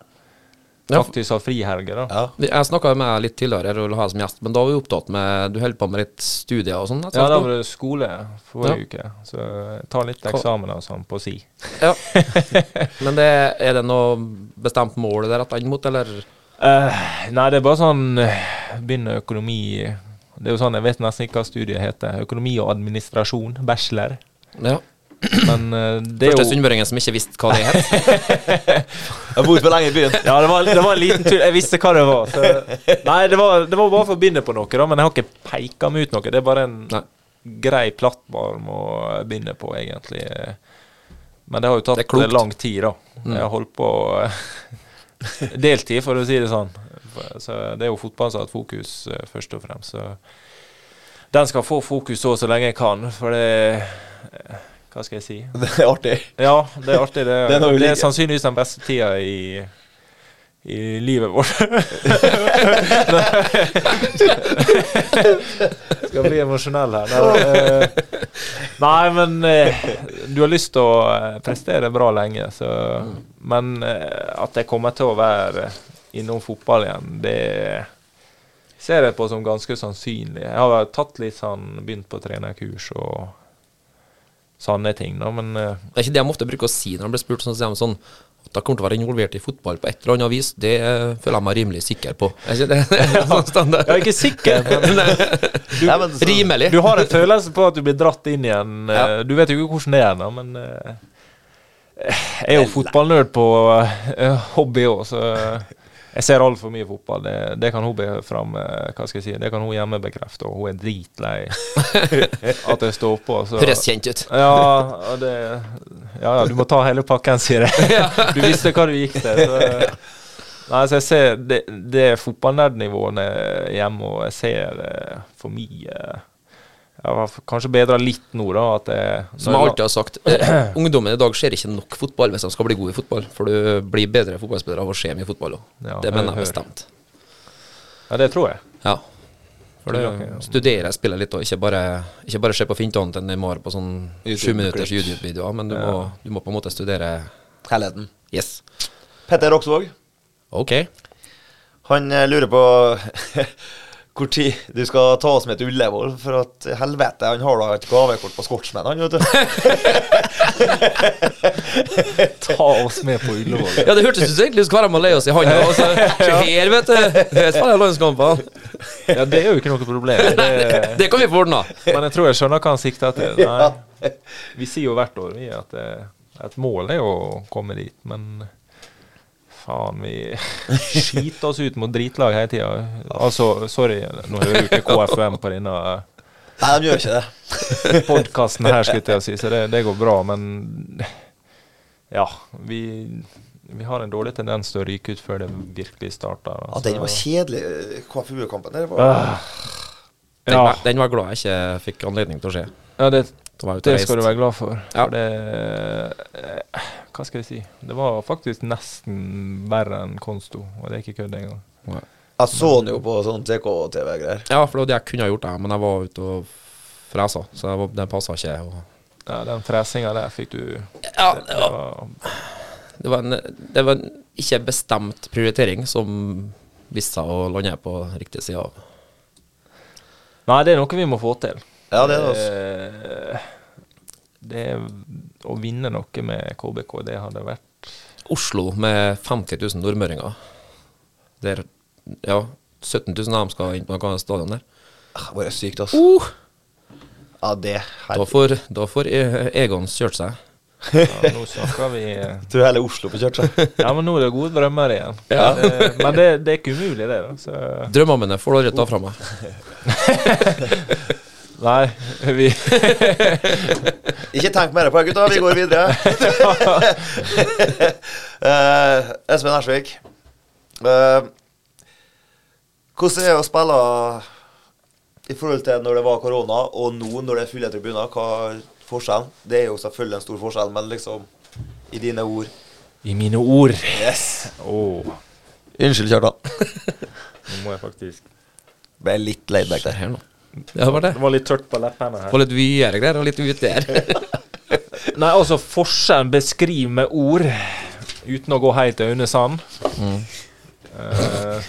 Ja. faktisk ha frihelger, da. Ja. Jeg snakka med deg litt tidligere, jeg vil ha deg som gjest, men da var vi opptatt med Du holder på med litt studier og sånn? Ja, da var det skole forrige Ja. uke, så jeg tar litt eksamen og sånn på si. Ja. [LAUGHS] Men det, er det noe bestemt mål det er retta inn mot, eller? Eh, nei, det er bare sånn eh, Begynner økonomi Det er jo sånn, jeg vet nesten ikke hva studiet heter. Økonomi og administrasjon, bachelor. Ja. Men eh, det er Første jo sunnmøringen som ikke visste hva det het. Jeg har bodd for lenge i byen. ja, det var, det var en liten tur. Jeg visste hva det var. Så. Nei, det var, det var bare for å begynne på noe, da, men jeg har ikke peika meg ut noe. Det er bare en Nei. grei plattform å begynne på, egentlig. Men det har jo Det er tatt klokt. Mm. lang tid, da. Jeg har holdt på eh, [LAUGHS] deltid, for å si det sånn. Så det er jo fotballen som har hatt fokus, eh, først og fremst. Så den skal få fokus så, så lenge jeg kan, for det eh, Hva skal jeg si? [LAUGHS] Det er artig. Ja, det er artig. Det, Det er det, noe er, ulike. sannsynligvis den beste tida i, i livet vårt. [LAUGHS] Skal bli emosjonell her. Nei, eh, nei men eh, du har lyst til å eh, prestere bra lenge, så Men eh, at jeg kommer til å være innom fotball igjen, det ser jeg på som ganske sannsynlig. Jeg har tatt litt sånn, begynt på trenerkurs og sånne ting, da, men eh, Det er ikke det de ofte bruker å si når de blir spurt. Sånn, så sier de sånn at jeg kommer til å være involvert i fotball på et eller annet vis, det eh, føler jeg meg rimelig sikker på. Er ikke [LAUGHS] det det er sånn standard? Jeg er ikke sikker, [LAUGHS] men Nei, sånn- men så- Rimelig. du har en følelse på at du blir dratt inn igjen. Ja. Eh, Du vet jo ikke hvordan det er, da, men eh, Jeg er jo fotballnerd på eh, hobby òg, så jeg ser altfor mye fotball. Det, det kan hun be fram, eh, hva skal jeg si, det kan hun hjemme bekrefte, og hun er dritlei at jeg står på. Så. Høres kjent ut. Ja, og det, ja, ja, du må ta hele pakken, sier jeg. Du visste hva du gikk til. Så. Nei, så jeg ser det, det er fotballnerdnivåene hjemme, og jeg ser eh, for mye jeg har f- Kanskje bedra litt nå, da. At jeg, Som jeg alltid har sagt, eh, ungdommen i dag ser ikke nok fotball hvis de skal bli gode i fotball. For du blir bedre fotballspiller av å se mye fotball òg. Ja, det mener hør, jeg hør. bestemt. Ja, det tror jeg. Ja. For Tror dere, ja. du studerer, spiller litt, og ikke bare, ikke bare se på fintanten til Neymar på sånn sju minutters YouTube-videoer, men du, må, du må på en måte studere Helheten. Yes. Petter Roksvåg, Ok. han eh, lurer på [LAUGHS] hvor tid du skal ta oss med til Ullevål, for at helvete, han har da et gavekort på Scotsman, han, vet du. [LAUGHS] Ta oss med på Ullevål. Ja, det hørtes ut som egentlig skulle være med å leie oss i handa. Og så [LAUGHS] se her, vet du. Vet faen, jeg har landskampene. Ja, det er jo ikke noe problem. Det, Det kan vi få ordna. men jeg tror jeg skjønner hva han sikter etter. Nei, vi sier jo hvert år vi at eh, et mål er jo å komme dit, men faen, vi [LAUGHS] skiter oss ut mot dritlag hele tida. Altså, sorry, nå hører jo ikke KFUM på denne Nei, de gjør ikke det. podkasten her, skulle jeg til å si, så det, det går bra, men ja, vi vi har en dårlig tendens til å ryke ut før det virkelig starter. altså. Ja, den var kjedelig, eh, KFU-kampen der. var- Den, Ja. den var jeg glad jeg ikke fikk anledning til å se. Ja, det, Da var jeg ute og det skal du reiste. være glad for. Ja. for det, eh, hva skal jeg si? Det var faktisk nesten verre enn Konsto, og det er ikke kødd engang. Jeg så den jo på sånn TK-TV-greier. Ja, for det var det jeg kunne ha gjort, jeg, men jeg var ute og fresa, så jeg var, den passa ikke. Og Ja, den fresinga der fikk du ja, det var, det var, en, det var en ikke bestemt prioritering som viste seg å lande på riktig side av. Nei, det er noe vi må få til. Ja, det er det. altså. Eh, det er å vinne noe med KBK, det hadde vært Oslo med 50 000 nordmøringer. Der, ja, 17 000 av dem skal inn på noe annet stadion der. Ah, Bare sykt, altså. Uh, Ja, det her. da får, da får eh, Egon kjørt seg. ja, Nå snakker vi Tror hele Oslo får kjørt [LAUGHS] seg. Ja, men nå er det gode drømmer igjen. Eh, men det, det er ikke umulig, det. da så. Drømmene får du aldri ta fra meg. Nei, vi Ikke tenk mer på det, gutta. Vi går [LAUGHS] videre. Eh, Espen Ersvik. Eh, hvordan er det å spille i forhold til når det var korona, og nå når det er fulle tribuner? Hva er forskjellen? Det er jo selvfølgelig en stor forskjell, men liksom i dine ord. I mine ord. Yes. Åh, Unnskyld, Kjartan. nå må jeg faktisk Ble litt laid back der. Ja, det var det. Det var litt tørt på leppene her. På litt videre greier og litt ut [LAUGHS] der. Nei, altså forskjellen beskriv med ord uten å gå helt til Aune Sand. Mm. Eh,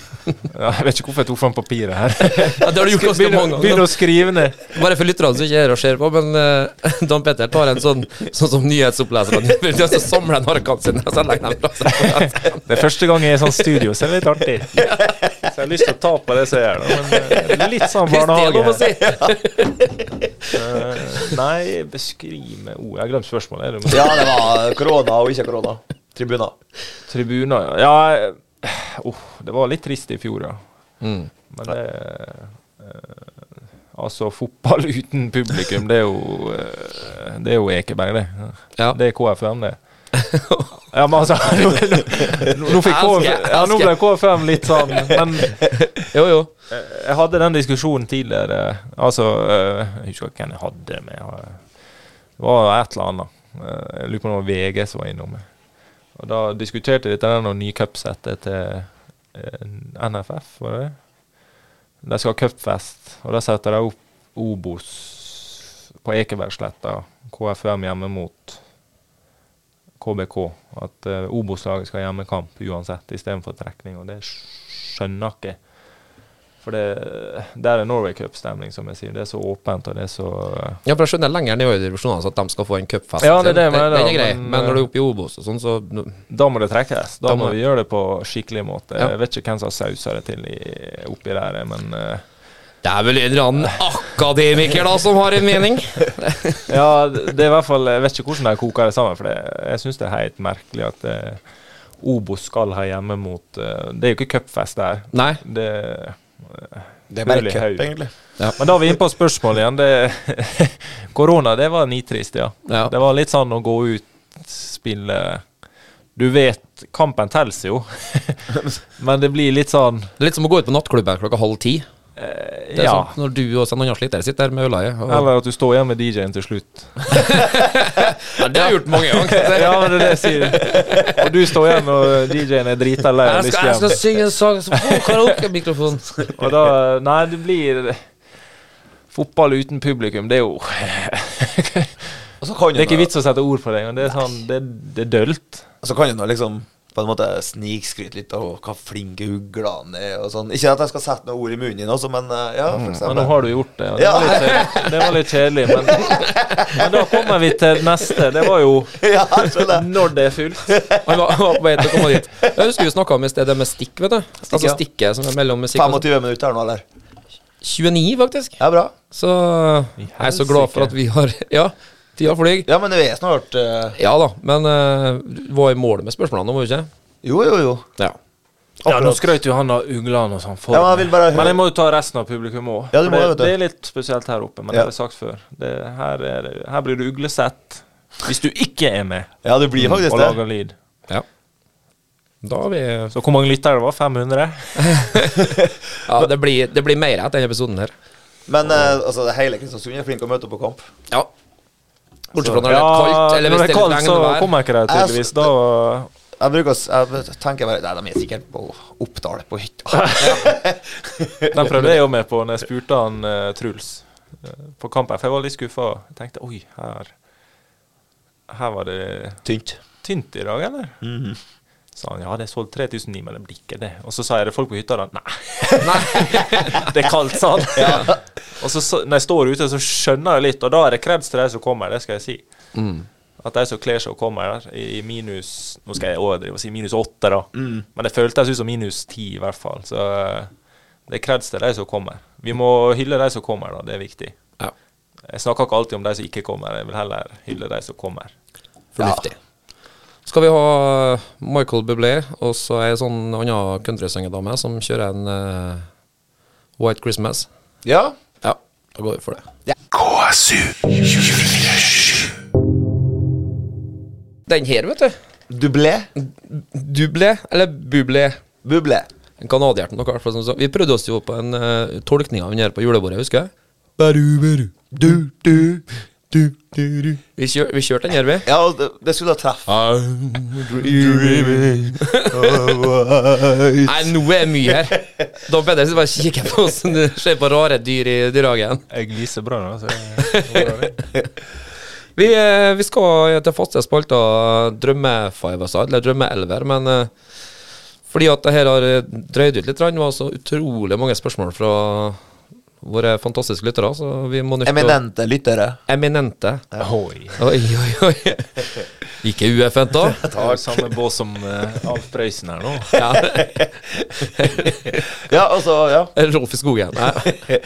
ja, jeg vet ikke hvorfor jeg tok fram papiret [LAUGHS] her. Ja, det har du gjort ganske Begynn å- mange begynn ganger. å skrive ned. Bare for lytterne som ikke er her og ser på, men eh, Dan Petter tar en sånn sånn som nyhetsoppleseren gjør. Så samler han arkene sine og så legger han [LAUGHS] fra seg. Det er første gang jeg er i sånn studio, så det er litt artig. [LAUGHS] Så jeg har lyst til å ta på det som jeg gjør, da, men eh, det er litt sånn Hvis det er barnehage. lov å her. si. Eh, Nei, beskriv med ord Jeg har glemt spørsmålet. Er det Ja, det var korona og ikke korona. Tribuner. Tribuner, ja. ja eh, oh, det var litt trist i fjor, ja. Mm. Men det eh, Altså, fotball [LAUGHS] uten publikum, det er jo eh, Det er jo Ekeberg, det. Ja. Det er KFM, [LAUGHS] det. Ja, men altså [LAUGHS] Nå, nå, nå fikk Elsker, KFM, ja, nå ble KFM litt sånn Men Jo, jo. Eh, jeg hadde den diskusjonen tidligere. Altså, eh, jeg husker ikke hvem jeg hadde med. jeg- Det var et eller annet. Eh, Jeg lurer på om det var VG som var innom. Og da diskuterte vi dette med nye cupsettet til eh, NFF, var det det? De skal ha cupfest, og da setter de opp Obos på Ekebergsletta. KFM hjemme mot KBK. At eh, Obos-laget skal ha hjemmekamp uansett, istedenfor trekning. Og det skjønner jeg ikke. For det, der er Norway Cup-stemning, som jeg sier. Det er så åpent, og det er så Ja, for jeg skjønner lenger ned i øvredivisjonene altså, at de skal få en cupfest. Ja, det er det jeg Den- mener, den er grei. men, Men når du er oppe i Obos og sånn, så Da må det trekkes. Da, Da må må- vi gjøre det på skikkelig måte. Ja. Jeg vet ikke hvem som har sausa det til i, oppi der, men eh, Det er vel en eller annen akademiker da som har en mening? Ja, det er i hvert fall Jeg vet ikke hvordan de koker det sammen, for det, jeg syns det er helt merkelig at eh, Obos skal ha hjemme mot eh, Det er jo ikke cupfest der. Nei. Det, Det er bare Full i cup, høyden. egentlig. men da er vi inne på spørsmålet igjen. Det, [LAUGHS] korona, det var nitrist, ja. Ja. Det var litt sånn å gå ut, spille Du vet, kampen teller jo, [LAUGHS] men det blir litt sånn Det er litt som å gå ut på nattklubben klokka halv ti. eh, Det er Ja. sånn når du og en annen sliter sitter der med øla i. og- Eller at du står igjen med DJ-en til slutt. Ja, det har jeg gjort mange [LAUGHS] ganger. Ja, men det er det jeg sier. Og du står igjen, og DJ-en er drita lei og har Jeg lyst skal, jeg hjem. skal synge en sang som får karaokemikrofon. Og da Nei, det blir Fotball uten publikum, det er jo Og så kan Det er ikke jo vits å sette ord på det engang. Det er sånn Det, det er dølt. Så kan du nå liksom på en måte snikskryte litt av hva flinke uglene er og sånn. Ikke at jeg skal sette noe ord i munnen din også, men eh, ja, for Mm. Men nå eksempel. har du gjort det. Og det, var litt, kjedelig. det var litt kjedelig, men, men da kommer vi til neste. Det var jo [LAUGHS] Ja, jeg [LAUGHS] skjønner. når det er fullt. Han var, var på vei til å komme dit. Jeg husker vi snakka om i sted det med stikk, vet du. altså ja. stikket som er mellom musikk og 25 minutter her nå, eller? 29, faktisk. Ja, bra. Så jeg er så glad for at vi har Ja, tida flyr. Ja, men vi er snart eh, Ja da, men eh, du var i mål med spørsmålene nå, var du ikke? Jo, jo, jo. Ja. Ja, nå skrøt jo han av uglene og sånn. for Ja, men jeg meg. vil bare høre- men jeg må jo ta resten av publikum òg. Ja, du må det, vet du. det er litt spesielt her oppe, men Ja. det har jeg sagt før. Det, her, er det, her blir du uglesett hvis du ikke er med Ja, det blir faktisk Mm, og det. lager lyd. ja. Da har vi ja, Så hvor mange lyttere det var? 500? det, blir, det blir mer etter denne episoden her. Men eh, altså, det hele Kristiansund er flink å møte opp på kamp. Ja. Bortsett fra når det er kaldt, eller hvis når det er litt kaldt, så regnvær. kommer jeg ikke der tydeligvis. Da Jeg bruker å s- Jeg tenker bare Nei, de er sikkert på Oppdal, på [LAUGHS] hytta. Den prøvde jeg jo med på når jeg spurte han eh, Truls eh, på kampen, for jeg var litt skuffa. Jeg tenkte oi, her Her var det Tynt. tynt i dag, eller? Sa han ja, det er solgt 3009, men det blir ikke det. Og så sa jeg det er folk på hytta, da. Nei. [LAUGHS] det er kaldt, sa han. Og så, så når jeg står ute, så skjønner jeg litt, og da er det kreds til de som kommer, det skal jeg si. At de som kler seg og kommer der, i i minus Nå skal jeg overdrive og si minus åtte, da. Mm. Men det føltes ut som minus ti, i hvert fall. Så eh, det er kreds til de som kommer. Vi må hylle de som kommer, da. Det er viktig. Ja, Jeg snakker ikke alltid om de som ikke kommer, jeg vil heller hylle de som kommer. fornuftig. Skal vi ha Michael Bublé og så ei sånn annen countrysyngedame som kjører en eh, White Christmas? Ja. Ja, da går vi for det. Den her, vet du. Dublé? Dublé, eller bublé. Bublé. En canadier til noe, i hvert fall, som sa- Vi prøvde oss jo på en eh, tolkning av den her på julebordet, husker jeg. Baru, baru, du, du, du, du, du. Vi, kjør, vi kjørte den her, vi. Ja, og det, det skulle da treffe. Nei, nå er det mye her. Da Pedersen bare kikker på oss du ser på rare dyr i dyrehagen. Jeg gliser bra nå, så jeg håper det. Vi, eh, vi skal til faste spalter Drømme-five, altså, eller Drømme-elver, men eh, fordi at det her har eh, drøyd ut litt, grann, det var så utrolig mange spørsmål fra våre fantastiske lyttere, så vi må nødt til å- Eminente lyttere. Eminente. Oi. [LAUGHS] Oi, oi, oi. Ikke UFN, da? [LAUGHS] Det er jo samme bås som eh, Alf Prøysen her nå. Ja. Ja, altså, ja. Rolf i skogen. Nei.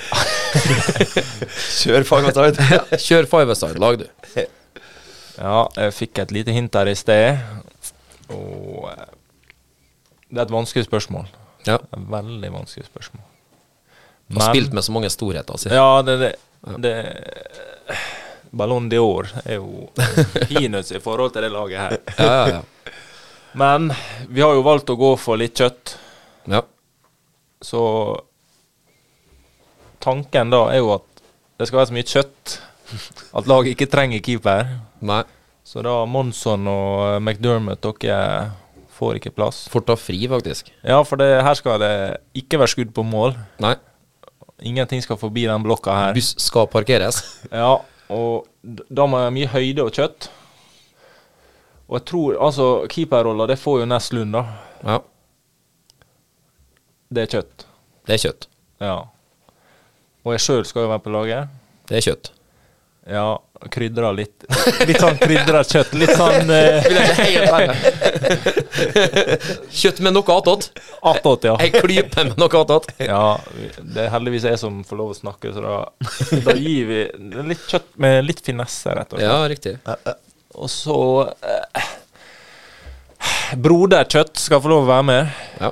Kjør fanget [LAUGHS] ut. Kjør five-side-lag, du. Ja, jeg fikk et lite hint her i sted. Og eh, Det er et vanskelig spørsmål. Ja. Et veldig vanskelig spørsmål. Har spilt med så mange storheter. Si. Ja, det, det, det Ballon d'Or er jo peanuts i forhold til det laget her. Ja, ja, ja. Men vi har jo valgt å gå for litt kjøtt, ja. så tanken da er jo at det skal være så mye kjøtt at laget ikke trenger keeper. Nei. Så da Monson og eh, McDermott, dere får ikke plass. Får ta fri, faktisk. Ja, for det, her skal det ikke være skudd på mål. Nei. Ingenting skal forbi den blokka her. Buss skal parkeres. Ja, og d- da må jeg ha mye høyde og kjøtt. Og jeg tror Altså, keeperrolla, det får jo Nestlund, da. Ja. Det er kjøtt. Det er kjøtt. Ja. Og jeg sjøl skal jo være på laget. Det er kjøtt. Ja, krydra litt. [LAUGHS] Litt sånn krydra kjøtt. Litt sånn eh, Vil jeg ikke helt være Kjøtt med noe attåt. attåt, ja. Ei klype med noe attåt. Ja, vi- det er heldigvis jeg som får lov å snakke, så da, da gir vi litt kjøtt med litt finesse, rett og slett. Ja, riktig. Og så eh, Broderkjøtt skal få lov å være med. Ja.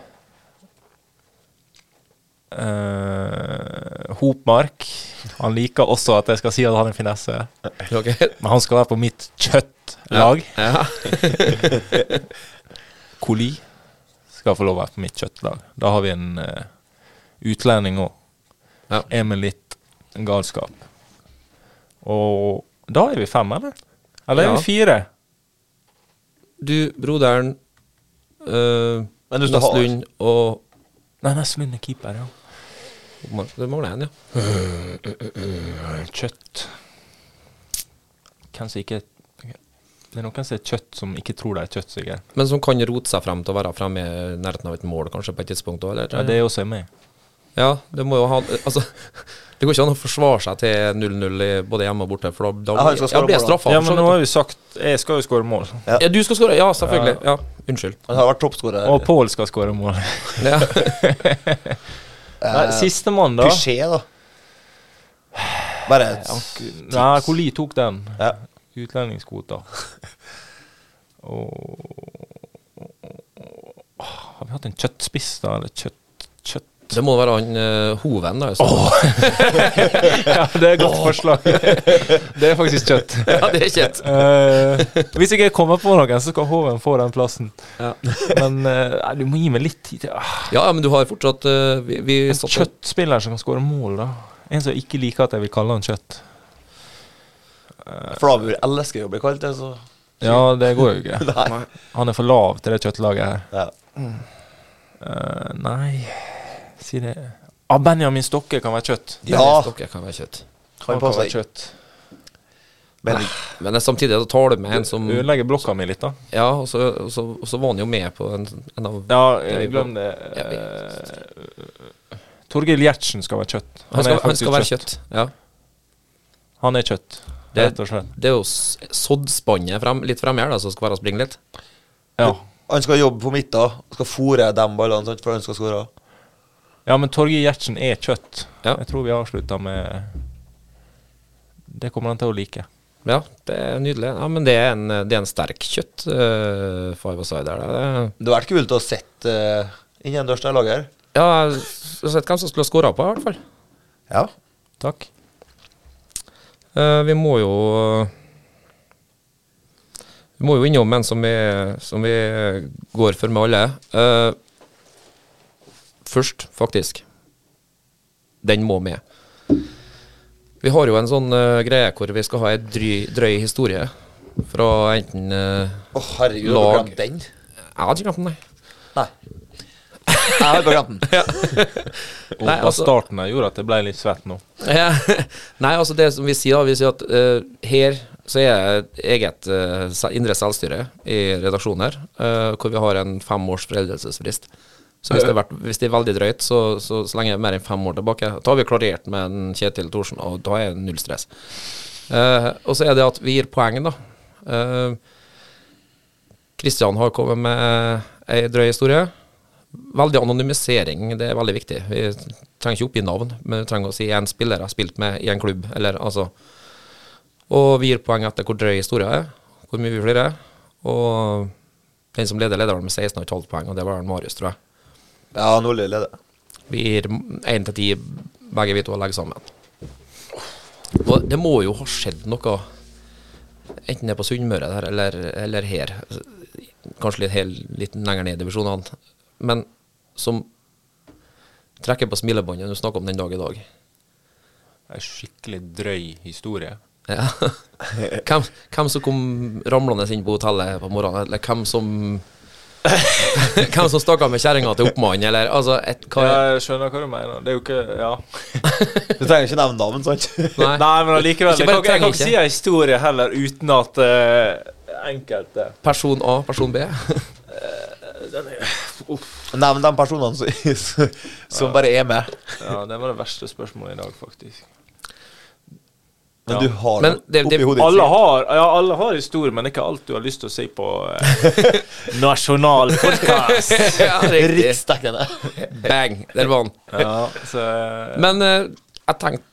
Eh, Hopmark. Han liker også at jeg skal si at han er finesse, Ok. men han skal være på mitt kjøttlag. Ja. [LAUGHS] Koli skal få lov å være på mitt kjøttlag. Da har vi en eh, utlending òg. Ja. En med litt galskap. Og da er vi fem, eller? Eller er Ja. vi fire? Du, broderen uh, Men du står hard. Nestlund og Nei, Nestlund er keeper, ja. Det mangler en, ja. Eh, Kjøtt Hvem som ikke Det er noen som er kjøtt som ikke tror det er kjøtt, sikkert. Men som kan rote seg frem til å være fremme i nærheten av et mål, kanskje, på et tidspunkt òg, eller? Ja, det er også meg. Ja, det må jo ha Altså, [LAUGHS] det går ikke an å forsvare seg til 0-0 i- både hjemme og borte, for da, da Ja, han skal ja, skåre blir jeg mål, da. straffa. ja, men nå har vi sagt Jeg skal jo skåre mål. ja. du skal skåre. Ja, selvfølgelig. Ja, unnskyld. Han har vært toppskårer. Og Pål skal skåre mål. Ja. [LAUGHS] Nei, Sistemann, da. Klisjé, da. Bare et Nei, Koli tok den. ja. Utlendingskvota. Og Har vi hatt en kjøttspiss, da? Eller kjøtt... kjøtt? Det må være han eh, Hoven, da. så- Ja, det er et godt forslag. Det er faktisk kjøtt. Ja, det er kjent. Eh, hvis jeg ikke kommer på noen, så skal Hoven få den plassen. Ja. Men eh, nei, du må gi meg litt tid. til- Ah, Ja, men du har fortsatt eh, Vi, vi En satt kjøttspiller som kan skåre mål, da. En som ikke liker at jeg vil kalle han kjøtt. Flavur elsker jo å bli kalt det, så Ja, det går jo [LAUGHS] ikke. Nei. Han er for lav til det kjøttlaget her. Ja. Eh, nei Si det ah, Benjamin Stokke kan være kjøtt. Ja. Dere kan være kjøtt. Han passer ikke. kjøtt. Men Men det er samtidig da tar du med en som Ødelegger blokka mi litt, da. Ja, og så, og så, og så var han jo med på en, en av Ja, eh, glem det. Eh, Torgeir Gjertsen skal være kjøtt. Han skal, han faktisk skal være kjøtt. Ja. Han er kjøtt, Det- rett og slett. Det er jo s- soddspannet frem, litt fremme her, da, som skal være å springe litt. Ja. han skal jobbe på midten. Skal fôre de ballene sant, for han skal skåre. Ja, men Torgeir Gjertsen er kjøtt. Ja. Jeg tror vi avslutta med Det kommer han til å like. Ja, det er nydelig. Ja, Men det er en, det er en sterk kjøtt, uh, five aside her. det er- Det hadde vært kult å sett uh, innendørs det laget her. Ja, jeg har sett hvem som skulle ha skåra på, i hvert fall. Ja. Takk. Eh, vi må jo Vi må jo innom en som vi, som vi går for med alle. Eh, først, faktisk. Den må med. Vi har jo en sånn eh, greie hvor vi skal ha ei dry, drøy historie fra enten eh, Å, herregud, har du Lag. glemt den? Jeg hadde ikke glemt den, nei. Nei. Jeg har bare glemt den. Og Nei, da altså- starten her gjorde at jeg ble litt svett nå. Ja. [LAUGHS] Nei, altså det som vi sier, da, vi sier at eh, her så er det eget eh, se- indre selvstyre i redaksjonen her, eh, hvor vi har en fem års foreldelsesfrist. Så hvis det, har vært, hvis det er veldig drøyt, så, så, så lenge det er mer enn fem år tilbake, da har vi klarert med en Kjetil Thorsen, og da er det null stress. Eh, og så er det at vi gir poeng, da. Kristian har kommet med ei drøy historie. Veldig anonymisering, det er veldig viktig. Vi trenger ikke oppgi navn, men vi trenger å si en spiller jeg har spilt med i en klubb, eller altså Og vi gir poeng etter hvor drøy historia er, hvor mye vi flirer. Og den som leder, leder vel med 16,5 poeng, og det var vel Marius, tror jeg. [LAUGHS] Ja, Nordli leder. Vi gir én til ti, begge vi to, og legger sammen. Og det må jo ha skjedd noe, enten det er på Sunnmøre der, eller, eller her, kanskje litt, hel, litt lenger ned i divisjonene, men som trekker på smilebåndet når du snakker om den dag i dag. En skikkelig drøy historie. Ja. Hvem, hvem som kom ramlende inn på hotellet på morgenen, eller hvem som Hvem som stakk av med kjerringa til oppmannen, eller altså et, hva er, Jeg skjønner hva du mener. Det er jo ikke Ja. Du trenger ikke nevne navn, sant? [LAUGHS] Nei, men allikevel. Ikke Jeg bare kan ikke- jeg kan trenger ikke si en historie heller uten at eh, enkelte Person A, person B? Nevn de personene som, som bare er med. Ja, det var det verste spørsmålet i dag, faktisk. Men Ja. du har Men dem det- det- oppi hodet ditt. Alle sikkert. har, ja, alle har historie, men det er ikke alt du har lyst til å si på eh, nasjonal podkast. [LAUGHS] ja, riktig. Riksdekkende. Bang, der var han. Ja, så eh, Men eh, jeg tenkte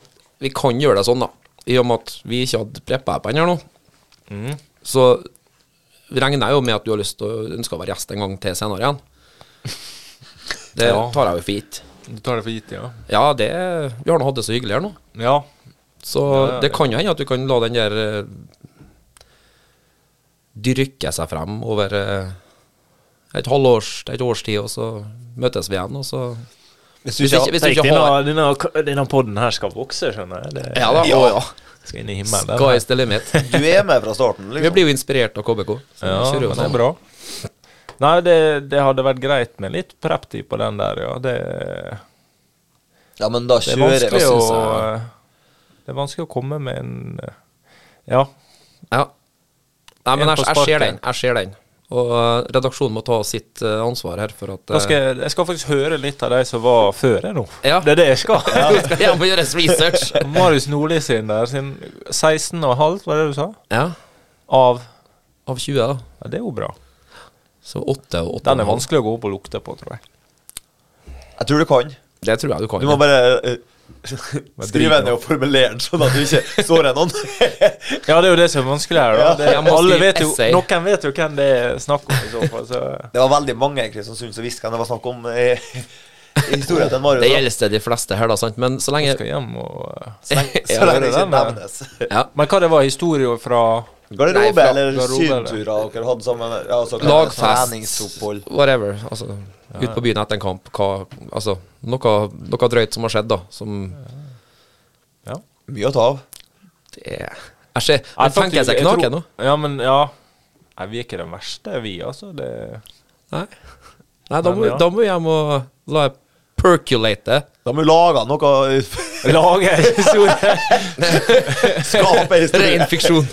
vi kan gjøre det sånn, da. I og med at vi ikke hadde preppa appen her nå. Mm. Så regner jeg jo med at du har lyst til å ønske å være gjest en gang til senere [LAUGHS] igjen. Det Ja. tar jeg jo for gitt. du tar det for gitt, ja? Ja, det Vi har nå hatt det så hyggelig her nå. Ja. Så ja, det ja. kan jo hende at du kan la den der eh, dyrke seg frem over eh, et halvårs, et års tid, og så møtes vi igjen, og så Hvis du Hvis ikke ikke, har hvis du ikke har denne podden her skal vokse, skjønner jeg. Det, Ja da. Ja. Å, ja. Skal inn i Sky is the limit. Du er med fra starten, Vi liksom. blir jo inspirert av KBK. så Ja, vi kjører jo men det sånn. er bra. Nei, det, det hadde vært greit med litt prep-tid på den der, ja. Det, Ja, men da det er kjører vi. vanskelig å synes jeg. Det er vanskelig å komme med en eh, Ja. Ja. Nei, men En jeg, jeg på ser sparket. den. Jeg ser den. Og eh, redaksjonen må ta sitt eh, ansvar her for at eh, Da skal jeg, jeg skal faktisk høre litt av de som var før jeg nå. Ja. Det er det jeg skal. [LAUGHS] Jeg må gjøres research. Marius Nordli sin der, sin 16 og halvt, var det du sa? Ja. Av Av 20, da. Ja, det er jo bra. Så 8 og 8. Den er vanskelig å gå opp og lukte på, tror jeg. Jeg tror du kan. Det tror jeg du kan. Du må bare eh, drit skrive nå. ned og formulere den sånn at du ikke sårer noen. Ja, det er jo det som er vanskelig her, da. Ja. Det, Jeg må alle skrive vet jo, essay. noen vet jo hvem det er snakk om, i så fall. Så. Det var veldig mange i Kristiansund som visste hvem det var snakk om i, i historien til Marius. Det da. gjelder de fleste her, da, sant. Men så Jeg lenge skal hjem og Så [LAUGHS] [LAUGHS] lenge- Ja, Så lenge det det er ikke den, ja. nevnes. ja. Men hva det var historien fra Nei, Garderobe fra- eller garderobe, eller? synturer dere hadde sammen? Ja, altså, Lagfest, treningsopphold. whatever. Altså, ut på byen etter en kamp. Hva, altså, noe, noe drøyt som har skjedd, da. Som Ja. Mye å ta av. det er Jeg ser Jeg tenker jeg seg tror- knaken nå. Ja, men ja. Nei, vi er ikke den verste, vi, altså. Det, Nei. Nei, da Men må, ja. da må jeg må la jeg percolate. Da må vi lage noe [LAUGHS] Lage en [LAUGHS] historie! Skape en Ren historie. fiksjon.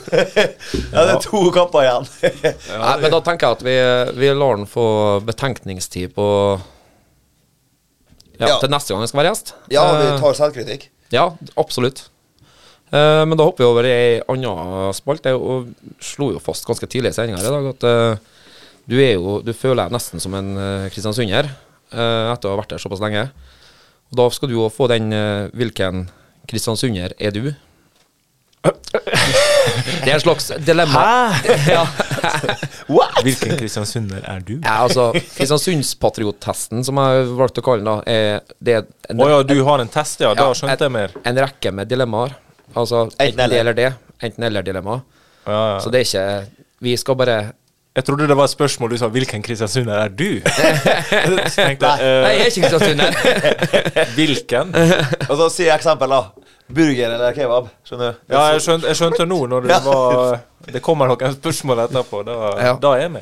Ja, det er to kamper igjen. Nei, men da tenker jeg at vi, vi lar den få betenkningstid på ja, Ja. til neste gang jeg skal være gjest. Ja, vi Eh, tar selvkritikk. ja absolutt. Eh, men da hopper vi over i ei anna spalte. Og slo jo fast ganske tidlig i sendinga i dag at eh, du er jo Du føler deg nesten som en eh, kristiansunder eh, etter å ha vært der såpass lenge. Og da skal du jo få den eh, Hvilken kristiansunder er du? [LAUGHS] Det er en slags dilemma. [LAUGHS] Ja. Hvilken kristiansunder er du? Ja, altså, Kristiansundspatriottesten, som jeg valgte å kalle den, da, er, det er Å ja, du har en test, ja. Da skjønte jeg mer. En rekke med dilemmaer. Altså enten det eller. eller det. Enten eller-dilemma. Ja, ja. Så det er ikke Vi skal bare Jeg trodde det var et spørsmål du sa 'Hvilken kristiansunder er du?' Så tenkte Nei, jeg jeg er ikke [LAUGHS] kristiansunder. eh, Hvilken? Og så sier jeg eksempel, da. Burger eller kebab. Skjønner du? Ja, jeg skjønte, jeg skjønte nå når det Ja. var Det kommer noen spørsmål etterpå. Da, Ja. da er jeg med.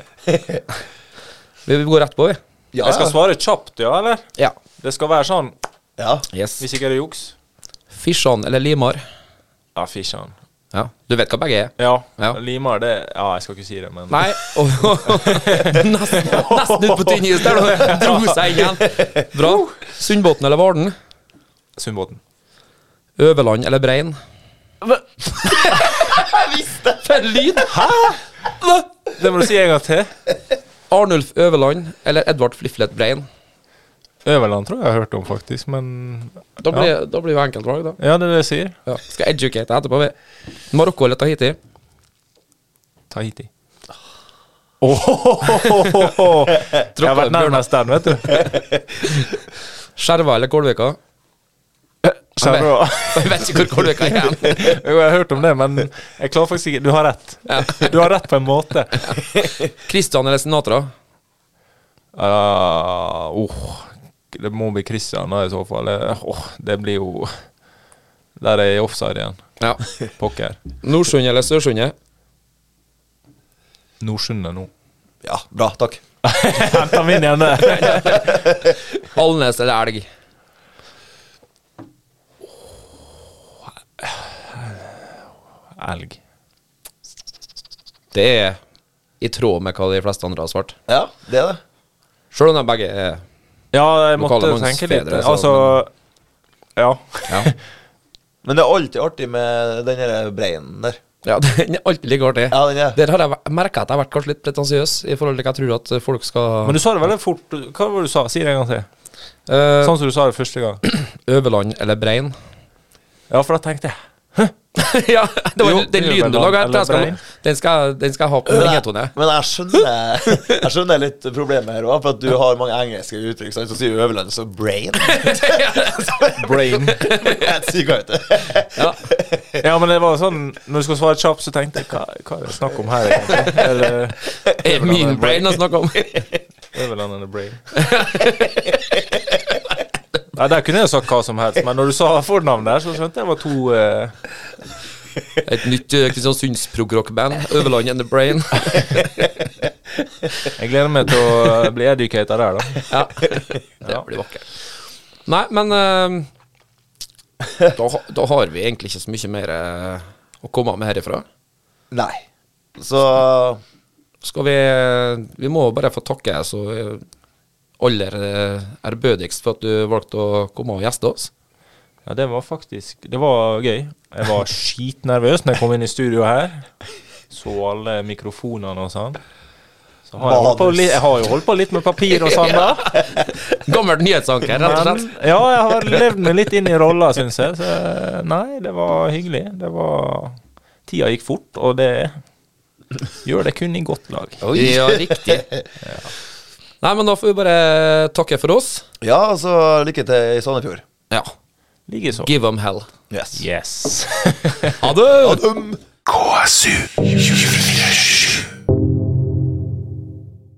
Vi går rett på, vi. Ja, Jeg skal ja. svare kjapt, ja, eller? Ja. Det skal være sånn, Ja. Yes. hvis ikke er det juks. Fisjan eller Limar? Ja, fisjan. Ja. Du vet hva begge er? Ja. Ja. Limar, det Ja, jeg skal ikke si det, men Nei. [LAUGHS] nesten, nesten ut på tynn is der, [LAUGHS] da. Dro seg inn igjen. Bra. Sundbotn eller Varden? Sundbåten. Øverland eller Brein? [LAUGHS] For en lyd! Det må du si en gang til. Arnulf Øverland eller Edvard Fliflet Brein? Øverland tror jeg jeg har hørt om, faktisk, men Da blir, da blir jo enkeltvalg, da. Ja, det er det jeg sier. Ja. Skal educate deg etterpå. vi. Marokko eller Tahiti? [LAUGHS] Tahiti. Åhåhåhåhå. Jeg har vært nærmest den, [LAUGHS] vet du. Skjerva eller Kolvika? Skjønner du? hva? Jeg vet ikke hvor Kolvika er. hen. Jo, jeg har hørt om det, men jeg klarer faktisk ikke Du har rett. Du har rett på en måte. Christian eller Sinatra? Ah, åh. det må bli Christian da, i så fall. Eh, Åh, det blir jo Der er jeg i offside igjen. Ja. Pokker. Nordsund eller Sørsundet? Nordsundet [LAUGHS] nå. ja, bra. Takk. Henta min igjen der. Alnes eller Elg? Elg. Det er i tråd med hva de fleste andre har svart. Ja, det er det. Sjøl om de begge er Ja, jeg måtte Lokale tenke litt. mannsfedre, så- Altså Ja. Ja, Men det er alltid artig med den der breinen der. ja [LAUGHS] den er alltid like artig. Ja, den er. Der har jeg merka at jeg har vært kanskje litt pretensiøs i forhold til hva jeg tror at folk skal Men du sa det veldig fort. Hva var det du sa? Si det en gang til. Eh, Sånn som du sa det første gang. Øverland eller Brein? Ja, for da tenkte jeg [LAUGHS] ja, det var Jo, den lyden du Øverland laga. eller Den, skal- Brein. den, skal- den skal jeg ha på Men ringetone. jeg, men jeg skjønner Jeg skjønner litt problemet her òg, for at du har mange engelske uttrykk. sant? Så sier du Øverland, så brain. [LAUGHS] brain. Helt syk ut. [LAUGHS] [LAUGHS] ja. Ja, men det var sånn Når du skal svare kjapt, så tenkte jeg Hva, hva er det snakk om her, egentlig? Eller Er min brain å snakke [LAUGHS] om? Øverland eller Brain? Nei, der kunne jeg sagt hva som helst, men når du sa fornavnet der, så skjønte jeg det var to eh, Et nytt eh, Kristiansunds progrock-band. Øverland and the Brain. Jeg gleder meg til å bli educated der, da. [LAUGHS] Ja. Det blir vakkert. Nei, men [LAUGHS] eh, da, ha- da har vi egentlig ikke så mye mer eh, å komme med herifra. Nei. Så Skal vi eh, Vi må bare få takke så eh, aller eh, ærbødigst for at du valgte å komme og gjeste oss. Ja, det var faktisk Det var gøy. Jeg var skitnervøs når jeg kom inn i studio her. Så alle mikrofonene og sånn. Så har jeg, holdt på litt, jeg har jo holdt på litt med papir og sånn, da. Gammel nyhetsanker, rett og Men, slett. [LAUGHS] ja, jeg har levd meg litt inn i rolla, syns jeg. Så nei, det var hyggelig. Det var Tida gikk fort, og det gjør det kun i godt lag. Ja, [LAUGHS] riktig. Nei, men da får vi bare takke for oss. ja, så lykke til i Sandefjord. Ja. Likeså. Give them hell. Yes. Yes. [LAUGHS] Ha det! KSU 24